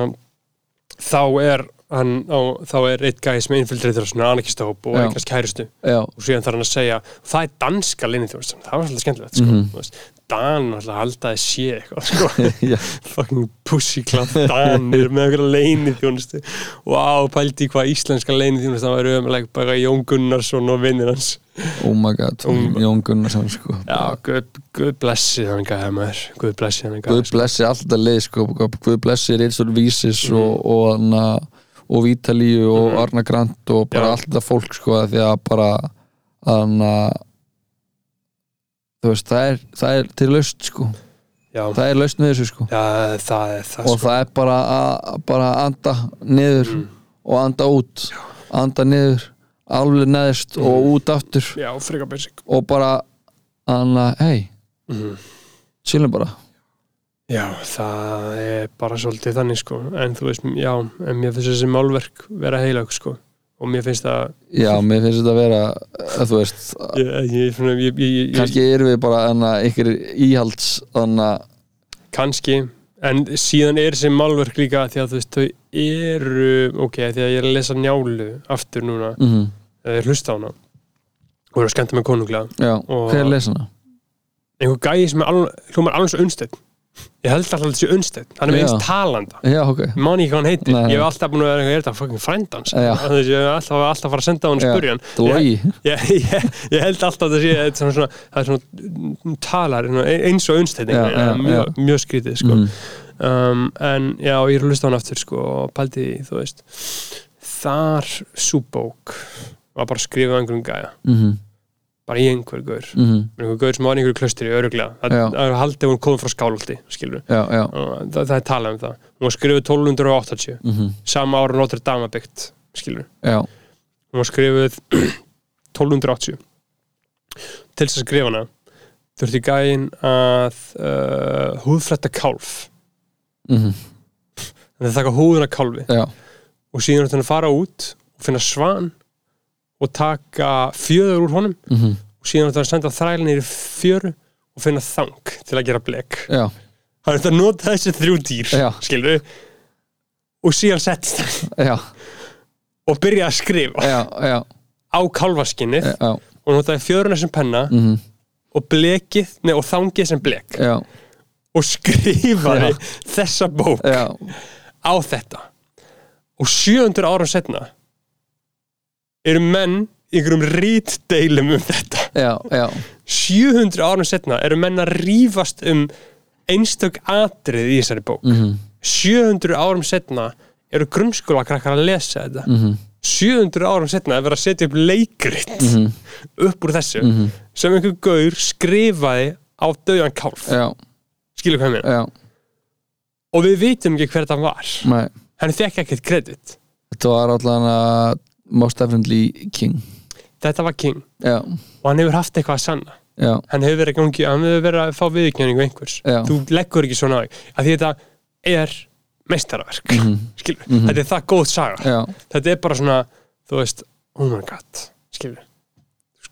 Þá er hann, á, þá er eitt gæði sem einfylgir þér svona anarkistahóp og Já. eignast kærustu já, og síðan þarf hann að segja það er danska linniþjóðsson, það var alltaf skemmtilegt sko. Mhm. mm -hmm. Dan alltaf haldaði sé eitthvað sko. <laughs> já, fucking pussyklapp danir með einhverja leinithjónustu og á pældi í hvað íslenska leinithjónustu það væri ömuleg bara Jón Gunnarsson og vinnir hans oh my god Um, Jón Gunnarsson sko Já, guð, guð blessi þannig að maður Guð blessi þannig að Guð blessi alltaf þetta lið sko Guð blessi Ritsul Vísis og, og, anna, og Vítalíu og Arna Grant og bara Já. allt þetta fólk sko af því að bara anna, þú veist, það er, það er til laust sko, Já, það er laust með þessu sko já það er það og sko það er bara að bara að anda niður og anda út anda niður, alveg neðist og út aftur Já, frika basic og bara anna, hei, mm. chillum bara Já, það er bara svolítið þannig sko En þú veist, já, en mér finnst þessi málverk vera heilag sko Og mér finnst það já, mér finnst þetta að vera að þú veist, Ég, ég, ég, ég, ég, ég, kannski erum við bara anna, ykkur íhalds anna, kannski en síðan er þessi málverk líka því að þú veist, þau eru ok, því að ég er að lesa njálu aftur núna, mm eða ég hlusta á hana og eru að skemmta með konunglega já, Og- hver er lesana? einhver gæi sem er alveg, hljómar alveg svo unnstætt ég held alltaf þessi unnstætt, hann er með Já. eins talanda já, ok, Ég man ekki hvað hann heitir, Nei. ég hef alltaf búin að vera eitthvað, er þetta fucking frændans Já. þess, ég hef alltaf, alltaf fara að senda á hann og Já. spurja hann ég, dlogi ég, <laughs> ég, ég held alltaf að það sé þetta er svona, það er svona talar svona eins og unnstætt Já, já, mjög, mjög skrítið sko. mm. um, en já, ég er að hlusta á hann aftur sko, og pældi því, þú veist þar súbók var bara skrifað á einhverjum gæja Mm -hmm. bara í einhver gaur, Mm -hmm. einhver gaur sem var í einhverju klöstri öruglega, það Já. það er haldið að hún kom frá skálolti, skilur já, já það, það er talað um það, hún var skrifuð 1280 mm sama ára Notre Dame var byggt skilur, já, hún var skrifuð <clears throat> 1280 til þess að skrifa hana þurfti gæin að uh, húðfrætta kálf mm þannig að taka húðuna kálfi já, og síðan ætti hann að fara út og finna svan og taka fjöður úr honum mm og síðan ætti hann að senda þræl niður í fjöru og finna þang til að gera blek já, hann ætti að nota þessi þrjú dýr Já. skilur og síðan settist hann já, og byrja að skrifa já, já, á kálfaskinnið já, já. og notaði fjöruna sem penna Mm og blekið, nei og þangið sem blek já, og skrifaði Já. þessa bók já, á þetta og 700 árum setna eru menn í einhverjum rítdeilum um þetta já, já 700 árum setna eru menn að rífast um einstök atrið í þessari bók mm -hmm. 700 árum setna eru grunnskóla krakkar að lesa þetta 700 árum setna er verið að setja upp leikrit Mhm. upp úr þessu sem einhver gaur skrifaði á döðan kálf já, skilur hvað ég meina já, og við vitum ekki hver það var nei hann fekk ekkert kredit Þetta var allan að Most Definitely King þetta var king Já, og hann hefur haft eitthvað að sanna já, hann hefur verið að gangi, hann hefur verið að fá viðurkenningu einhvers, Já. þú leggur ekki svona á þig að því þetta er meistarverk mm Mhm. Mhm. þetta er það góð saga já, þetta er bara svona, þú veist oh my god, skilur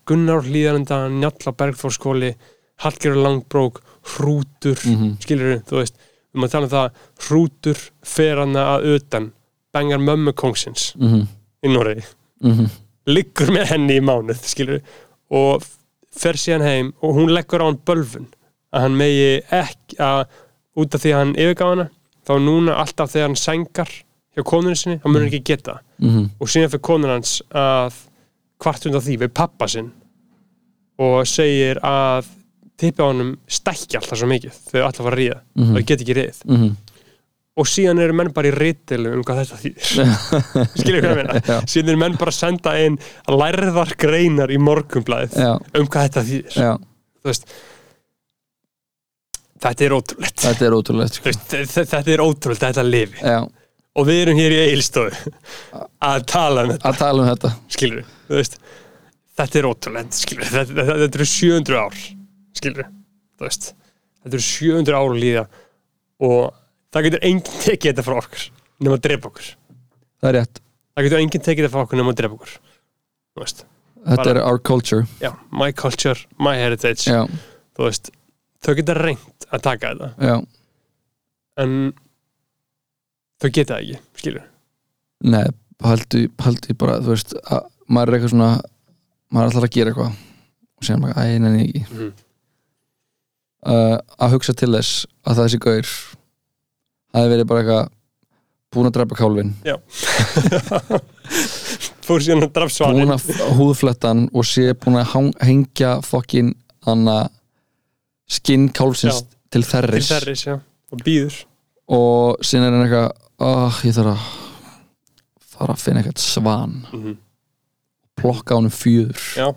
Gunnar Hlýðarenda, Njalla Bergþórskóli Hallgerur Langbrók Hrútur, mm Mhm. þú veist við maður tala um það, Hrútur fer hana að utan, bengar mömmu kongsins mhm, í Noregi mhm liggur með henni í mánuð skilur, og fer síðan heim og hún leggur á hann bölfun að hann megi ekki að út af því að hann yfirgaf hana þá núna alltaf þegar hann sængar hjá konunni sinni, hann mun ekki geta það. mhm, og síðan fyrir konun hans að kvart undan því við pappa sinn og segir að tippi á honum stækki alltaf svo mikið þau alltaf var að ríða, mm Mhm. þau get ekki ríð mhm og síðan eru menn bara í rítilu um hvað þetta þýðir skilur hvað ég meina Já. síðan eru menn bara að senda inn lærðar greinar í morgumblæð Já, um hvað þetta þýðir já, Þú veist, Þetta er ótrúlegt þetta er Þú ótrúlegt sko. veist, þe- þe- Þetta er ótrúlegt, þetta lifi já, Og við erum hér í eigilstofu Að tala um þetta, að tala um þetta skilur við Þetta er ótrúlegt, skilur við Þetta, þetta, þetta eru 700 ár, skilur við Þetta eru 700 ár að líða Og það getur enginn tekið þetta frá okkur Nefn að drepa okkur það er rétt, Það getur enginn tekið þetta frá okkur nefn að drepa okkur Þú veist þetta Bara- er our culture já, my culture, my heritage já, þú veist, þau geta reynt að taka þetta já, en þau geta það ekki, skilur nei haldi, haldi bara, þú veist að, maður er eitthvað svona, maður ætlar að gera eitthvað og sér maður, æ, neina ekki Mhm. uh, að hugsa til þess að þessi gaur hafi verið bara eitthvað búin að drepa kálfin <laughs> fór síðan að draf svanin búin að húðflettan og sé búin að hang, hengja fokkin hana skinn kálfsins Já. til þerris, til þerris, já, og býður og síðan er hann eitthvað oh, ég þarf að þarf að finna eitthvað svan plokka honum fjöður Mhm, já,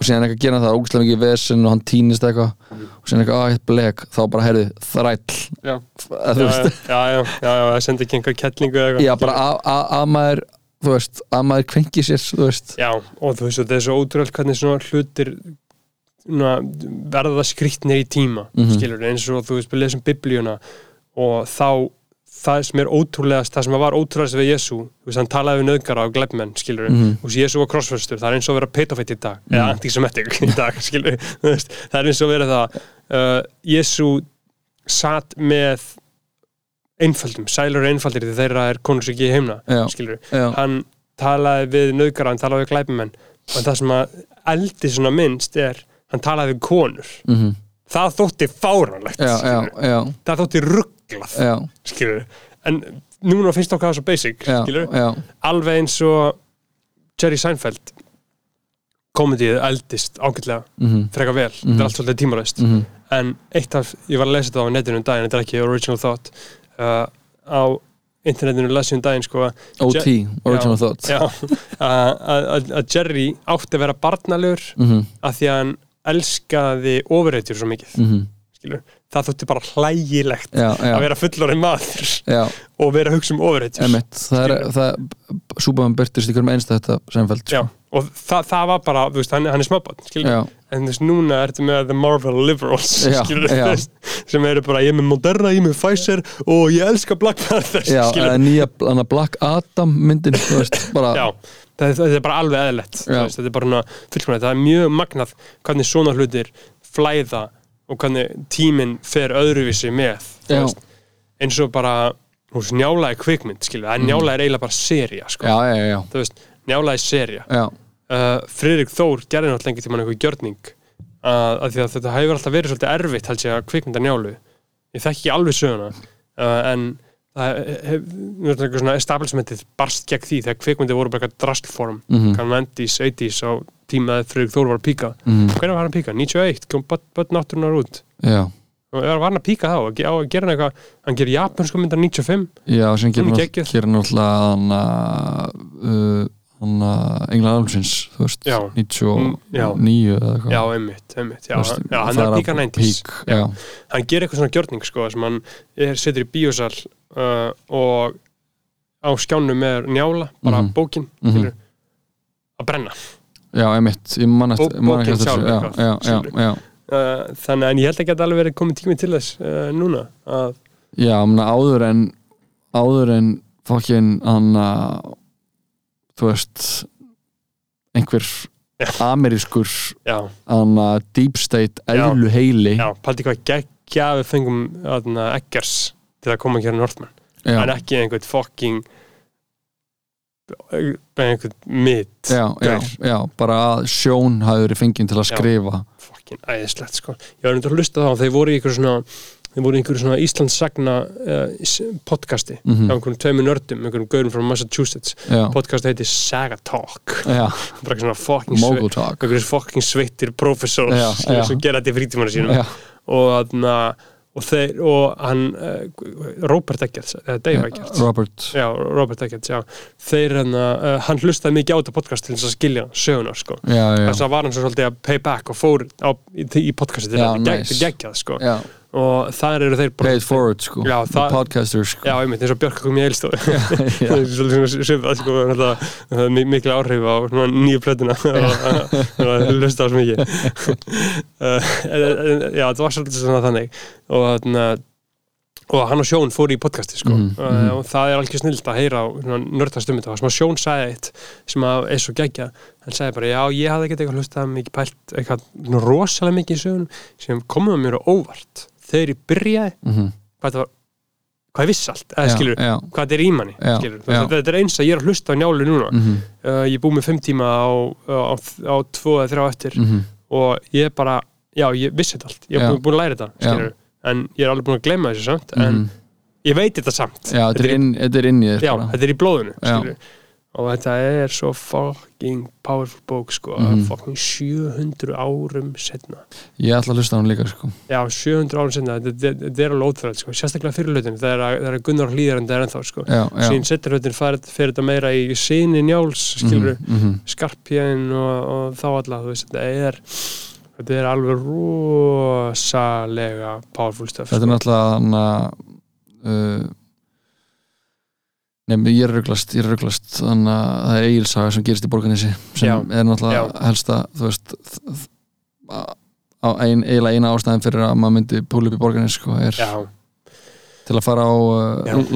og síðan eitthvað gera það, ógæslega mikið vesen og hann týnist eitthvað og síðan eitthvað, að, ég blek, þá bara heyrðu þræll, já, eða já, þú veist já, já, já, já, það sendi ekki einhver kettlingu eða eitthvað. já, bara að- að að maður þú veist, að maður kvenki sér, þú veist já, og þú veist, og þetta er svo ótrúlega hvernig svona hlutir svona, verða skrýtnir í tíma Mhm. skilur, eins og þú veist, við lesum biblíuna og þá það sem er ótrúlegast, það sem var ótrúlegast við Jésu, þú veist, hann talaði við nöðgara og glebmenn, skilur, Mhm. og Jésu var krossfæstur það er eins og að vera petofætt í dag, eða antisemitik í dag, <laughs> skilur, þú veist, það er eins og að vera það, uh, Jésu satt með einföldum, sælur og einfaldir því þeirra er konur sem ekki heimna, Já. skilur já, hann talaði við nöðgara, hann talaði við glæpumenn og það sem að eldi svona minnst er hann talaði við konur mhm, það þótti fáranlegt já, já, skilurðu. já, það þótti rugglað já, skilur. en núna finnst okkar það svo basic já, skilur. já, alveg eins og Jerry Seinfeld komediðið eldist ágætlega mhm, frekar vel, þetta er allt svolítið tímalöst mhm, en eitt af, ég var að lesa þetta á netinu um daginn, þetta er ekki original thought uh, á internetinu lesi um daginn sko að OT, original thought Já, að- að að Jerry átti að vera barnalur mhm, af því að hann elskaði ofurreitur svo mikið, mhm, skilur það þótti bara hlægilegt já, að já, vera fullorinn maður já, og vera að hugsa um ofurreitur emitt það er, Skilur. það súpaðan byrtist í hverjum sko. einsta þetta semfæld, Já, og það, það var bara, þú veist, hann, hann er smábann skilur, já, en þess núna ertu með The Marvel Liberals Já, skilur, já. Þess, <laughs> sem eru bara, ég er með Moderna, ég er með Pfizer og ég elska Black Panther já, skilur. eða nýja hana Black Adam myndin, þú veist, bara Já, það, það er bara alveg eðlilegt þú Já. veist, þetta er bara svona fullkomlega, það er mjög magnað hvernig svona hlutir flæða og hvernig tíminn fer öðruvísi með þú Já. veist. eins og bara þú veist, njála er kvikmynd, skilur það er njála er eiginlega bara seria, sko Mm. já, já, já, já, þú veist, njála er seria já, uh, Friðrik Þór gerði náttúrulega lengi tímann einhver gjörning uh, að því að þetta hefur alltaf verið svolítið erfitt held ég að kvikmynda njálu ég þekki ekki alveg söguna uh, en það hefur hef, svona establishmentið barst gegn því þegar kvikmyndið voru bara eitthvað drastform mhm, kann 90s, 80s á tímaði Friðrik Þór var að píka mhm, hvernig var hann að píka? 91, kom börn börn náttúrunar út já og var hann að píka þá, Ge- á að gera hann eitthvað hann gerir japansku myndar 95 Já, sem gerir Hún er nátt- geggjuð. gerir náttúrulega uh, hann að hann að England Alvsins þú veist, Já. 99 eða eitthvað já, einmitt, einmitt já, Þú veist, hann, já, hann það er að píka 90s peak, já. hann gerir eitthvað svona gjörning sko, sem hann er, setur í bíósal uh, og á skjánu með njála, bara Mhm. bókin Mhm. skilur, að brenna já, einmitt, ég man Bó- eftir ég man ekki bókin eftir þessu. sjálf já, eitthvað, já, já, skilurðu. já, uh, þannig en ég held ekki að það alveg verið komið tími til þess uh, núna að, já, mena, áður en áður en fokkin hann að þú veist einhver amerískur já, hann að deep state Já. eðlu heili já, paldi hvað geggja við fengum aðna, ekkers til að koma að gera Northman, já, en ekki einhvern fucking uh, einhvern mitt já, já, gaur. já, bara að sjón hafi verið fenginn til að Já. skrifa fokkin æðislegt sko ég var einhvern að hlusta þá, þeir voru í einhverju svona þeir voru í einhverju svona Íslands sagna uh, podcasti, mm Mhm. á einhverjum tveimur nördum einhverjum gaurum frá Massachusetts já, podcast heiti Saga Talk já bara eitthvað svona fokkin Mogul Talk einhverjum fokkin sveittir professors Já, skilur, já. sem gera þetta í frítímanu sínum já, og þarna og þeir, og hann uh, Robert Eggerts, eða Dave Eggerts Robert já, Robert Eggerts, já þeir hann, uh, hann hlustaði mikið á þetta podcast til þess að skilja sögunar, sko já, já, þess að var hann svo svolítið að pay back og fór á, í, í podcastið til Já, þetta nice. nice. geggjað, sko já. og þar eru þeir Pay it forward sko Já, The það- podcaster Já, sko einmitt, eins og Björk kom í eilstofu <laughs> já. svolítið svona svipað sko, náttúrulega, það er mi- mikil áhrif á svona, nýju plötuna <laughs> og hlusta á svo mikið <laughs> Uh, en- en- já, það var svolítið svona þannig og, þarna, og hann og Sjón fóru í podcasti sko. Mhm, uh, og það er alveg snilt að heyra og svona nördast um þetta, sem að Sjón sagði eitt sem að er svo geggja hann sagði bara, já, ég hafði ekkert eitthvað hlustað mikið pælt eitthvað svona rosalega mikið í sögun sem komum að mér á óvart þegar ég byrjaði Mhm. hvað þetta var hvað ég vissi allt, eða skilur Já, hvað þetta er í manni Já, skilur, já. þetta, þetta er eins að ég er að hlusta á njálu núna já mhm, uh, ég er búið með fimm tíma á, á, á tvo eða þrjá eftir mhm. og ég er bara, já ég vissi þetta allt ég er Já. búin, búin að læra þetta, Já. skilur en ég er alveg búin að gleyma þessu samt en Mhm. ég veit þetta samt Já, þetta er í, inn- þetta er inn í þér já, bara. þetta er í blóðinu Já. skilur og þetta er svo fucking powerful bók sko, Mhm. fucking 700 árum setna Ég ætla að hlusta á hann líka sko já, 700 árum setna, þetta, þetta, þetta er alveg óþræð sko. sérstaklega fyrir hlutinu, þegar þegar Gunnar hlýðar en það er ennþá sko Já, já sín setjarhautin fyrir þetta meira í síni njáls skilur mm. Mhm, mhm. skarpjæðin og, og þá alla þú veist, þetta er þetta er alveg rosalega powerful stuff sko. Þetta er náttúrulega hann að uh, Nei, ég er rugglast, ég er rugglast þannig að það er eigilsaga sem gerist í borganessi sem Já, er náttúrulega já. helsta þú veist þ- þ- á- á ein, eiginlega eina ástæðin fyrir að maður myndi púl upp í borganessi sko, er já, til að fara á Já. uh,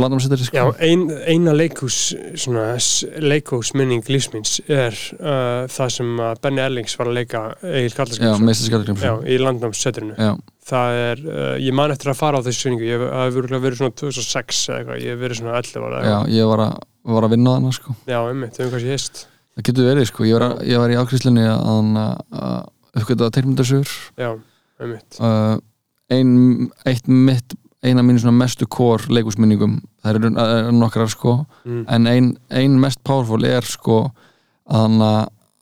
já landamsettari sko. ein, eina leikús svona, s- leikhúsminning lífsmins er uh, það sem að Benny Erlings var að leika Egil já Kallarskjömsson meistar já, skallargrimsson í landnámssetrinu já, það er, uh, ég man eftir að fara á þessu sýningu, ég hef- það hefur örugglega verið svona 2006 eða eitthvað, ég hef verið svona 11 ára eða já, eitthvað. ég var að, var að vinna þannig sko. já, einmitt, þau hefum kannski hist það getur verið, sko. ég, var að, ég var í ákrislinni að, að, að uppgöta teikmyndasögur já, einmitt uh, ein, eitt mitt eina mínu svona mestu kór leikúsminningum það eru er nokkrar sko mm. en ein, ein mest powerful er sko að,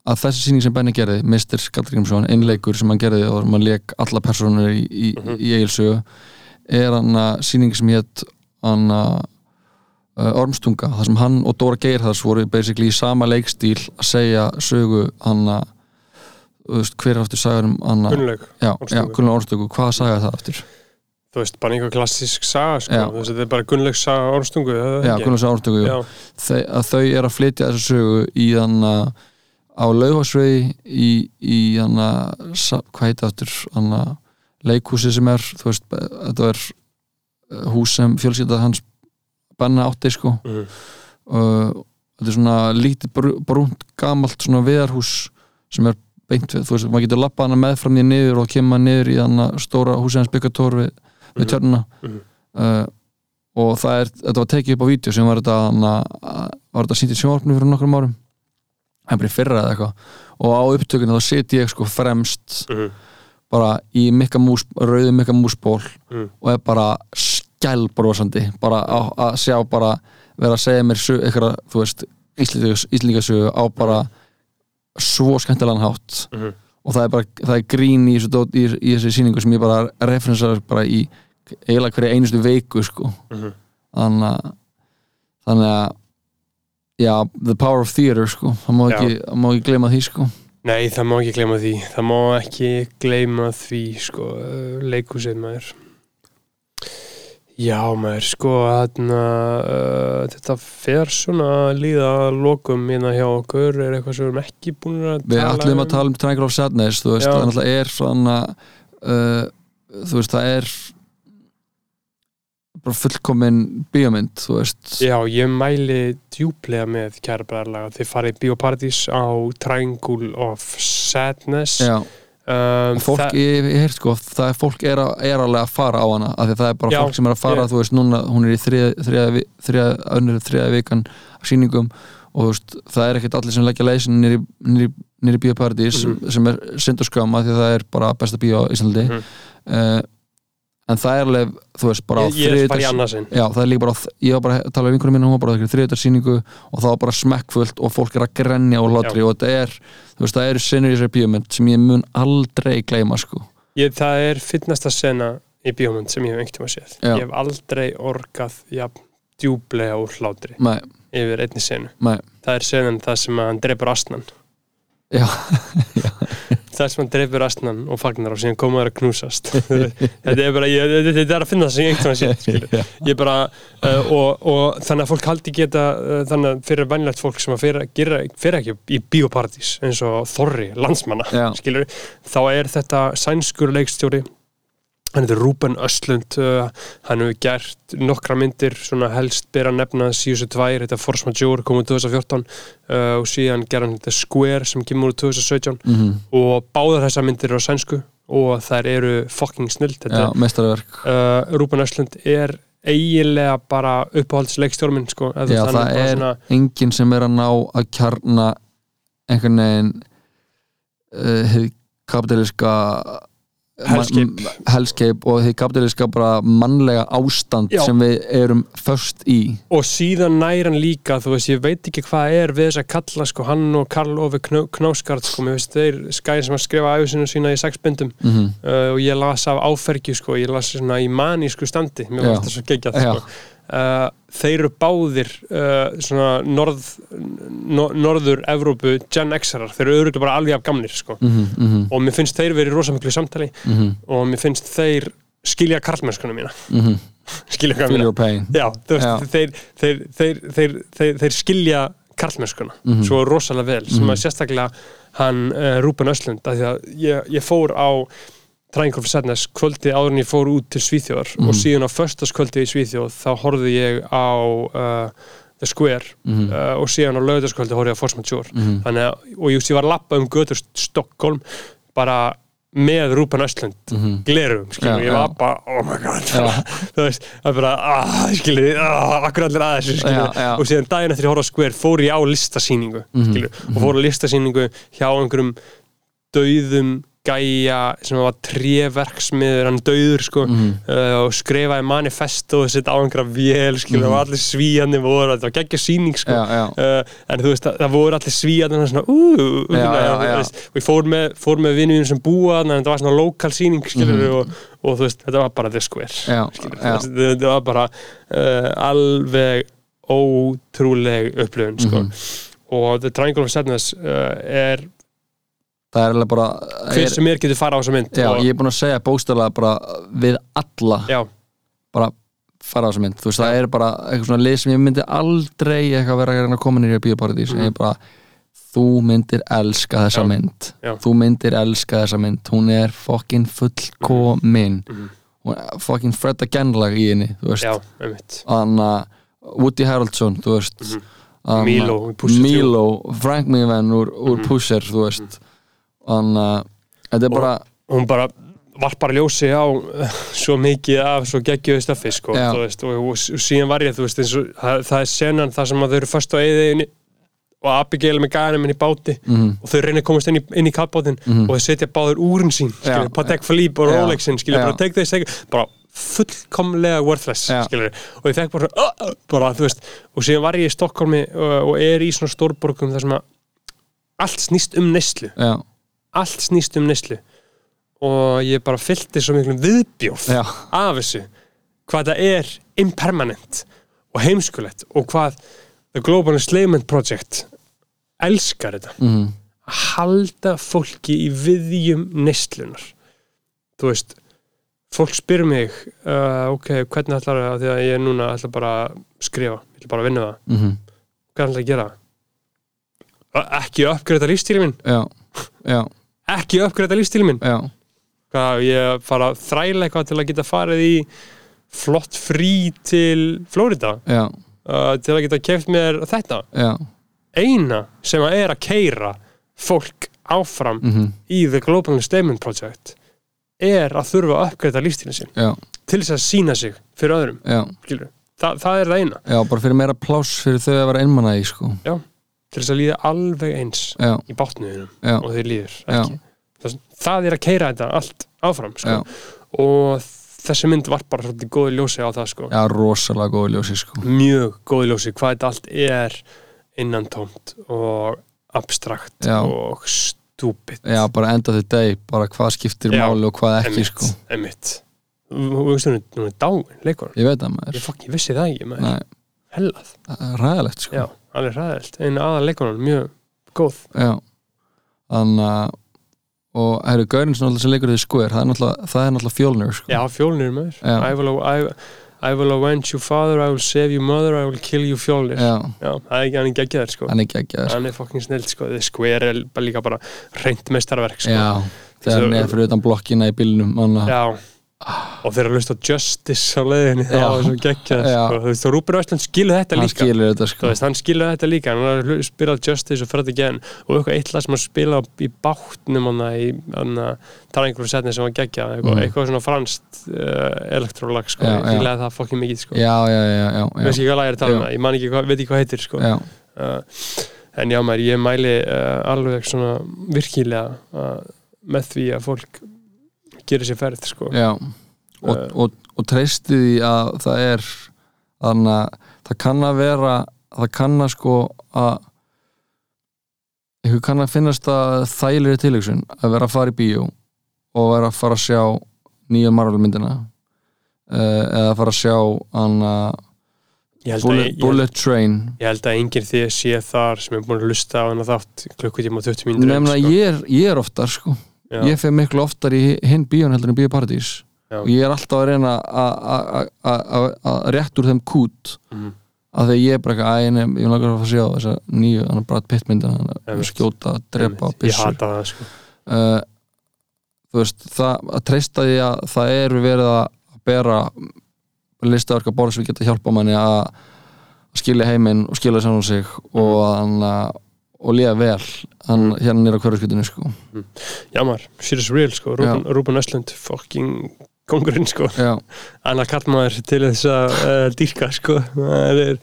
að þessi sýning sem Benni gerði Mr. Skallgrímsson, einleikur sem hann gerði og sem hann leik alla personur í, í, Mhm. í Egilsögu er hann að sýning sem hétt hann að uh, Ormstunga, þar sem hann og Dóra Geirhars voru basically í sama leikstíl að segja sögu hann að þú veist, hver er aftur sagan um hann að Gunnlaug, já, já, Ormstungu. Gunnlaug Ormstungu, hvað sagði það aftur? þú veist, bara einhver klassísk saga sko. Já. þú veist, þetta er bara Gunnlaug saga ormstungu er það Já, ekki? Gunnlaug Ormstungu, já, Þe, að þau er að flytja þessa sögu í þann að á laufasvegi í, í hann að hvað heita aftur hann að leikhúsi sem er þú veist, þetta er eh, hús sem fjölskyldað hans banna átti sko Mhm. uh, þetta er svona lítið brú- brúnt gamalt svona veðarhús sem er beint við, þú veist, maður getur lappað hana meðfram því niður og kemur niður í hana stóra húsi hans byggatór við, við Mhm. tjörnuna Mhm. uh, og það er, þetta var tekið upp á vídeo sem var þetta, hana, var þetta sýnt í sjónvarpinu fyrir nokkrum árum en bara í fyrra eða eitthvað og á upptökunni þá sit ég sko fremst Mhm. bara í mikka mús, rauðu mikka músból Mhm. og er bara skælbrosandi bara á, að sjá bara vera að segja mér sög, eitthvað, þú veist íslendingasögu á bara svo skemmtilegan hátt Mhm. og það er bara, það er grín í þessu, dót- í, í þessu sýningu sem ég bara referensar bara í eiginlega hverja einustu veiku sko Mhm. þannig að þannig að já, the power of theater sko það má Já. ekki, það má ekki gleyma því sko nei, það má ekki gleyma því það má ekki gleyma því sko, uh, leikhúsið maður já maður sko þarna, uh, þetta fer svona að líða að lokum hérna hjá okkur er eitthvað sem við erum ekki búin að við tala ætlum um að tala um Triangle of Sadness þú veist, Já. það náttúrulega er svona uh, þú veist, það er bara fullkomin bíómynd, þú veist Já, ég mæli djúplega með kæra bræðarlaga. Þið farið í Bíóparadís á Triangle of Sadness. Já, um, og fólk, það- ég, ég heyrt sko það er fólk er, að, er alveg að fara á hana af því að það er bara Já, fólk sem er að fara ég- þú veist, núna, hún er í þriða, þriða, vi- þriða önnur þriða vikan af sýningum og þú veist, það er ekkert allir sem leggja leysin nýri, nýri, nýri bíóparadís Mhm. sem er syndarskam af því að það er bara besta bíó á Íslandi Mhm. uh, en það er alveg, þú veist, bara á ég, ég er bara í þriðjudags- annarsinn. Já, það er líka bara, ég var bara að tala um vinkunum mín hún var bara þegar þriðutar sýningu og það var bara smekkfullt og fólk er að grenja og hlátri og þetta er, þú veist, það eru sinnur í þessari bíómynd sem ég mun aldrei gleyma, sko Ég, það er fyrnasta sena í bíómynd sem ég hef einhvern tíma séð ég Já. hef aldrei orgað jafn djúblega úr hlátri nei, yfir einni senu <laughs> nei það er senan það sem að hann dreipur astnan Já. <laughs> það sem hann dreipur astnan og fagnar og síðan koma þær að knúsast <laughs> þetta er bara, ég, þetta- þetta er að finna það sem ég einhvern tíma séð skilur. Já. ég bara, uh, og, og þannig að fólk haldi geta, uh, þannig að fyrir venjulegt fólk sem að fyrir, gera, fyrir ekki í bíóparadís eins og Þorri, landsmanna Já. skilur, þá er þetta sænskur leikstjóri hann heitir Rúben Östlund uh, hann hefur gert nokkra myndir svona helst byrja að nefna síðustu tvær þetta Force Majeure kom úr 2014 uh, og síðan gerði hann þetta Square sem kemur úr 2017 mhm. og báðar þessar myndir eru á sænsku og þær eru fucking snill þetta Já, meistarverk uh, Rúben Östlund er eiginlega bara uppáhaldsleikstjórminn sko, eða þú Já, veist, hann það bara er enginn sem er að ná að kjarna einhvern veginn uh, hið kapitaliska Hellscape. man- hellscape og hið kapitaliska bara mannlega ástand Já. sem við erum först í og síðan nær hann líka þú veist, ég veit ekki hvað er við þess að kalla sko, hann og Karl Ofi Knó- Knásgard sko, mér veist, þeir skæðin sem að skrifa æfisinu sína í sex bindum mm uh, og ég las af áfergju, sko, ég las svona í manísku standi, mér Já. veist það svo geggjað Já. sko. uh, þeir eru báðir uh, svona norð no, norður Evrópu Gen X-arar, þeir eru örugglega bara alveg af gamlir sko. -hmm, mm -hmm, og mér finnst þeir verið rosa miklu í samtali mm -hmm, og mér finnst þeir skilja karlmennskunum mína <laughs> mm -hmm. skilja hvað ég Feel meina your pain Já, þú Já. veist, þeir, þeir, þeir, þeir, þeir, þeir skilja karlmennskuna Mhm. svo rosalega vel, sem að sérstaklega hann uh, Rúben Öslund af því að ég, ég fór á Triangle for Sadness kvöldi áður en ég fór út til Svíþjóðar Mhm. og síðan á föstaskvöldi í Svíþjóð þá horfði ég á uh, The Square Mhm. uh, og síðan á lögðaskvöldi horfði ég á Force Mature Mhm. þannig að, og ég, ég var að lappa um götur Stockholm bara með Rúben Öslund Mhm. glerum, skilur, Já, ég var já. bara oh my god, <laughs> þú veist, það er bara ah, skilur, ah, akkur allir að þessu skilur, Já, já. og síðan daginn eftir ég horfði á skver fór ég á listasýningu, Mhm, skilur og fór á listasýningu hjá einhverjum dauðum gæja sem var tréverksmiður, hann dauður sko, Mhm. uh, og skrifaði manifest og sitt á einhverja vél, skilur, og allir svíjandi voru, þetta var geggja sýning sko, Mhm. Já, já. uh, en þú veist, það, það voru allir svíjarnar svona, ú, ú, ú, Já, já, þú já. veist, og ég fór með, fór með vinnum sem búa, þannig að þetta var svona lokal sýning, skilur og, og þú veist, þetta var bara the square, Mhm. Já, skilur já. þetta var bara uh, alveg ótrúleg upplöfun, sko Mhm. og The Triangle of Sadness uh, er, það er alveg bara hver er, sem er getur fara á þessa mynd já, og, ég er búin að segja bókstæðlega bara við alla já, bara fara á þessu mynd þú veist, það er bara eitthvað svona lið sem ég myndi aldrei eitthvað vera að reyna að koma nýri að bíóparadís mm. ég er bara, þú myndir elska Mhm. þessa Já. mynd Já. þú myndir elska þessa mynd, hún er fucking fullkomin mm. fucking Fred Agenlag í henni þú veist, Mhm. já, einmitt þannig að Woody Harrelson, þú veist þarna- Mhm. Milo í Pusher Mhm. Milo, Frank Mivan úr, úr Pusher, þú veist þannig að þetta er bara og hún bara varpar ljósi á eh, svo mikið af svo geggjöðu staffi sko, Já. þú veist, og, og, og síðan var ég þú veist, eins og, það, það er senan það sem að þau eru föst á eigiðinni og Abigail með gæðanum inn í báti Mhm. og þau reyna að komast inn í, inn í kappbátin og þau setja báður úrin sín skilur, Já. Patek Philippe og Já. Rolexin skilur, Já. bara take this, take it, bara fullkomlega worthless Já. skilur, og ég fekk bara, svona, "Ah, ah," bara þú veist, og síðan var ég í Stokkólmi og, og er í svona stórborgum þar sem að allt snýst um neyslu já, allt snýst um neyslu og ég bara fyllti svo miklum viðbjóð já, af þessu hvað það er impermanent og heimskulegt og hvað The Global Enslavement Project elskar þetta mhm, að halda fólki í viðjum neyslunar þú veist fólk spyr mig uh, ok, hvernig ætlar það því að ég núna ætla bara að skrifa ég ætla bara að vinna það, mhm hvað ætla að gera ekki uppgreita lífstíli minn já, já, ekki uppgreita lífstíli minn já hvað, ég fara að þræla eitthvað til að geta farið í flott frí til Flórida já, uh, til að geta keft mér þetta já, eina sem að er að keira fólk áfram mm í The Global Statement Project er að þurfa að uppgreita lífstílinn sinn já, til þess að sína sig fyrir öðrum já, skilur. Þa, það er það eina já, bara fyrir meira pláss fyrir þau að vera einmanna í, sko Já. til þess að líða alveg eins Já, í bátnuðinum já, og þeir líður já, ekki það, það er að keira þetta allt áfram sko. já, og þessi mynd var bara svolítið góði ljósi á það sko. já, rosalega góð ljósi, sko mjög góð í ljósi hvað þetta allt er innantómt og abstrakt Já. og stúpid Já, bara enda þið deg, bara hvað skiptir Já. máli og hvað ekki, sko emitt veistu hún er- hún er dáin leikor ég veit að maður ég fokk, ég vissi það ekki maður. Nei, hellað, það er ræðilegt sko já, alveg hræðilt en aða leikorinn, mjög góð Já. þannig að og það eru gaurinn sem alltaf sem leikur því skoir það er náttúrulega, það er náttúrulega fjólnir sko. já, fjólnir maður Já. I will, I, I will avenge your father, I will save your mother I will kill you fjólnir já, Já, það er ekki hann ekki ekki þær sko hann er ekki ekki að hann er fokkin snill sko, þið square er bara líka bara reynd mestarverk sko. Já, þegar Þessu- hann er fyrir utan blokkina í bílnum manna, Já. og þeir eru að lusta á Justice á leiðinni, Já. það var svo geggjað Já. sko. þú veist, og Rúbin Östlund skilur þetta hann líka skilur þetta þú sko veist, hann skilur þetta líka hann er að spila á Justice og Fred Again og eitthvað eitthvað sem að spila á- í bátnum hann í, hann tala einhverjum setni sem var geggjað, eitthvað, Mhm. eitthvað svona franskt uh, elektrólag, sko, Já, ég já. fílaði það fokkin mikið, sko, Já, já, já, já, ég veist já, ekki hvað lagir að tala um Já. það, ég man ekki, hvað- veit ekki hvað heitir, sko já. uh, en já maður, ég mæli uh, alveg svona virkilega uh, með því að fólk gerir sér ferð sko. já. Og, Eh. og, og treysti því að það er þannig að það kann að vera það kann að sko að ykkur kann að finnast að þælir tilhugsun að vera að fara í bíó og vera að fara að sjá nýju marvelmyndina uh, eða fara að sjá hana, ég, held að, bullet, ég, held, bullet Train ég held að enginn því sé þar sem er búin að lusta á hana þátt klukkutíma og 20 mínútur sko. nefnir að ég er, ég er oftar sko já, ég fer miklu oftar í hinn bíón heldur en bíóparadís Já. og ég er alltaf að reyna að- að- að- að- að- að rétt úr þeim kút Mhm. að því að ég er bara eitthvað æ, nefn, ég vil langar að fá að sjá þessa nýju hann er bara pittmynda, hann Einmitt. að skjóta, drepa, einmitt, ég byssu hata það sko. uh, þú veist, það að treysta því að það er verið að bera listaverka borð sem geta hjálpa manni að að skilja heiminn og skilja saman sig og, hann, að- og liða vel hann, Mm. hérna nýra hverjarskutinu sko. já maður, serious real sko. Rúben, Rúben Östlund, fucking kongurinn sko. já, annar kallmaður til þess að uh, dýrka sko. maður er,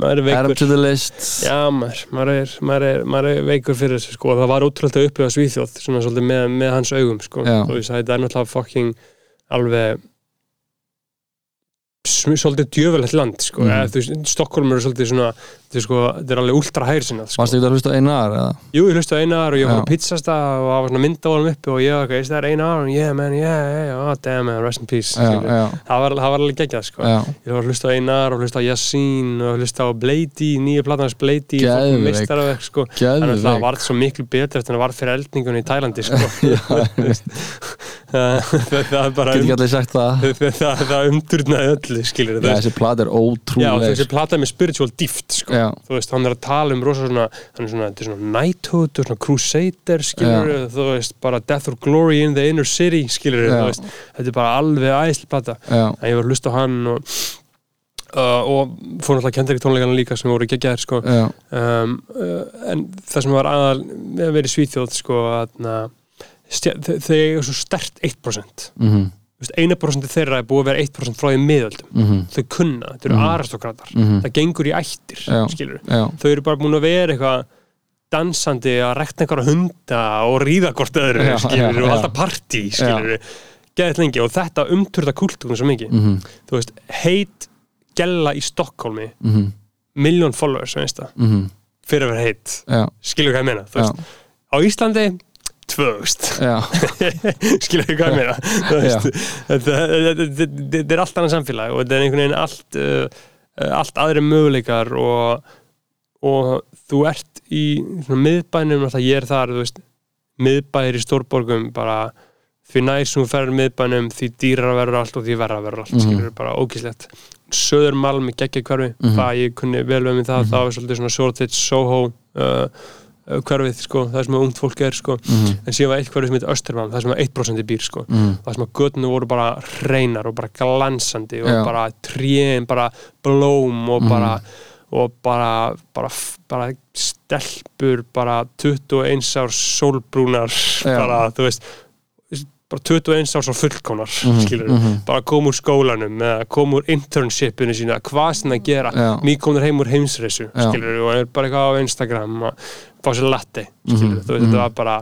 maður er Add veikur up to the list Já, maður, maður er, maður er, maður er veikur fyrir þessu, sko, og það var útrúlega að upplifa Svíþjóð, svona svolítið með, með hans augum, sko, Já. þú veist, það er náttúrulega fucking alveg sm- svolítið djöfulegt land, sko, Mhm. eða, þú veist, Stokkólm eru svolítið svona, þú veist, sko, þetta er alveg últra hægri sinnað, sko. Varstu ekki að hlusta á einar eða? Jú, ég hlusti á einar og ég var Já. að pizzast það og það var svona mynda á hann uppi og ég var eitthvað, is that einar? Yeah, man, yeah, yeah, yeah, oh, damn, man, rest in peace. skilur. já, Það var, það var alveg geggjað, sko já, ég var að hlusta á Einar og hlusta á Yassín og hlusta á Blady, nýja platans Blady Geðveik. meistaraverk sko þannig að það geðveik varð svo miklu betur eftir en það varð fyrir eldningunni í Tælandi <laughs> sko það, það er bara Get ekki um, <laughs> allir sagt það það, það, það umturnaði öllu skilur Já, þessi plat er já ótrúleg þessi plata með spiritual dýft sko Já, þú veist, hann er að tala um rosa svona, hann er svona, þetta er svona knighthood og svona crusader, skilur þú veist, bara death or glory in the inner city skilur Já. þú veist, þetta er bara alveg æsli plata já, að ég var að hlusta á hann og, uh, og fór náttúrulega kendari tónleikana líka sem voru geggjaðir sko. já, um, uh, en það sem var aðal við að vera í Svíþjóð sko, aðna, stjæ, þe þeir eru svo stert 1% mhm, Þú veist, 1% þeirra er búið að vera 1% frá því miðöldum mhm, þau kunna, þau eru Mhm. aristokratar mhm það gengur í ættir Já. skilur. Já, þau eru bara búin að vera eitthvað dansandi að rekna einhverja hunda og ríða hvort öðru Já, skilur, já, og já. alltaf partí skilur, geðið lengi og þetta umturða kultúrun svo mikið mhm, þú veist, heit gella í Stokkólmi, mhm, miljón followers veist það, mhm fyrir að vera heit Já, skilur hvað ég meina, þú já, veist, á Íslandi 2000, já, <laughs> skilur hvað ég meina þú veist, þetta þetta- þetta- þetta er allt annað samfélag og þetta er einhvern veginn allt uh, uh, allt aðri möguleikar og, og þú ert í svona miðbænum, alltaf ég er þar þú veist, miðbæir í stórborgum bara því nær sem þú ferður miðbænum því dýrar verður allt og því verra verður allt Mhm. mm. skilur bara ógíslegt Söðurmalm í geggja hverfi, Mhm. það ég kunni vel við mig það, það var svolítið svona Sortage, Soho uh, uh, hverfið sko, það sem ungt fólk er sko mhm, en síðan var eitt hverfið sem heit Östermalm, það sem var 1% býr sko mhm það sem að götnu voru bara hreinar og bara glansandi og Já. bara trén, bara blóm og Mhm. bara, og bara, bara, bara stelpur bara 21 árs sólbrúnar Já. bara, þú veist bara 21 árs og fullkónar Mhm, skilur mhm. bara kom úr skólanum eða kom úr internshipinu sína, hvað sem það gera Já. nýkomnir heim úr heimsreysu Já. skilur og er bara eitthvað á Instagram að fá sér latte skilur Mhm, þú veist, mhm. þetta var bara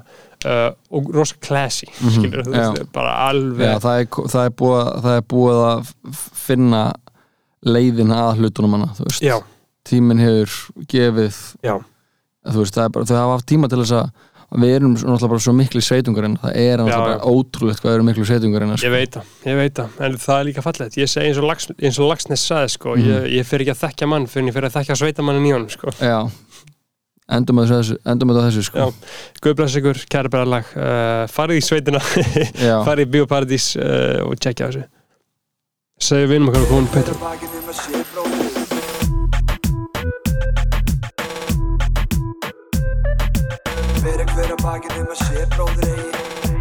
uh, og rosa classy skilur þú já. veist, bara alveg Já, það er, það er, búið, það er búið að f- finna leiðina að hlutunum hana, þú veist Já, tíminn hefur gefið já, þú veist, það er bara, þau hafa haft tíma til þess að við erum svo- náttúrulega bara svo miklu sveitungarinn það er náttúrulega já. bara ótrúlegt hvað við erum miklu sveitungarinn sko. Ég veit það, ég veit það, en það er líka fallegt Ég segi eins og, lags, eins og Lagsnes saði sko, Mhm. ég, ég fer ekki að þekkja mann fyrir en ég fer að þekkja sveitamannin í honum sko. já, endum að þessu, endum að þessu sko. Já. Guð bless ykkur, kæra bræðarlag uh, farið í sveitina, já. <laughs> farið í Bíóparadís uh, og tjekkja á þessu Segðu vinum okkar og konum Petru Betra bakið nema sé bróðir Fyrir hver að bakið nema sé bróðir eigi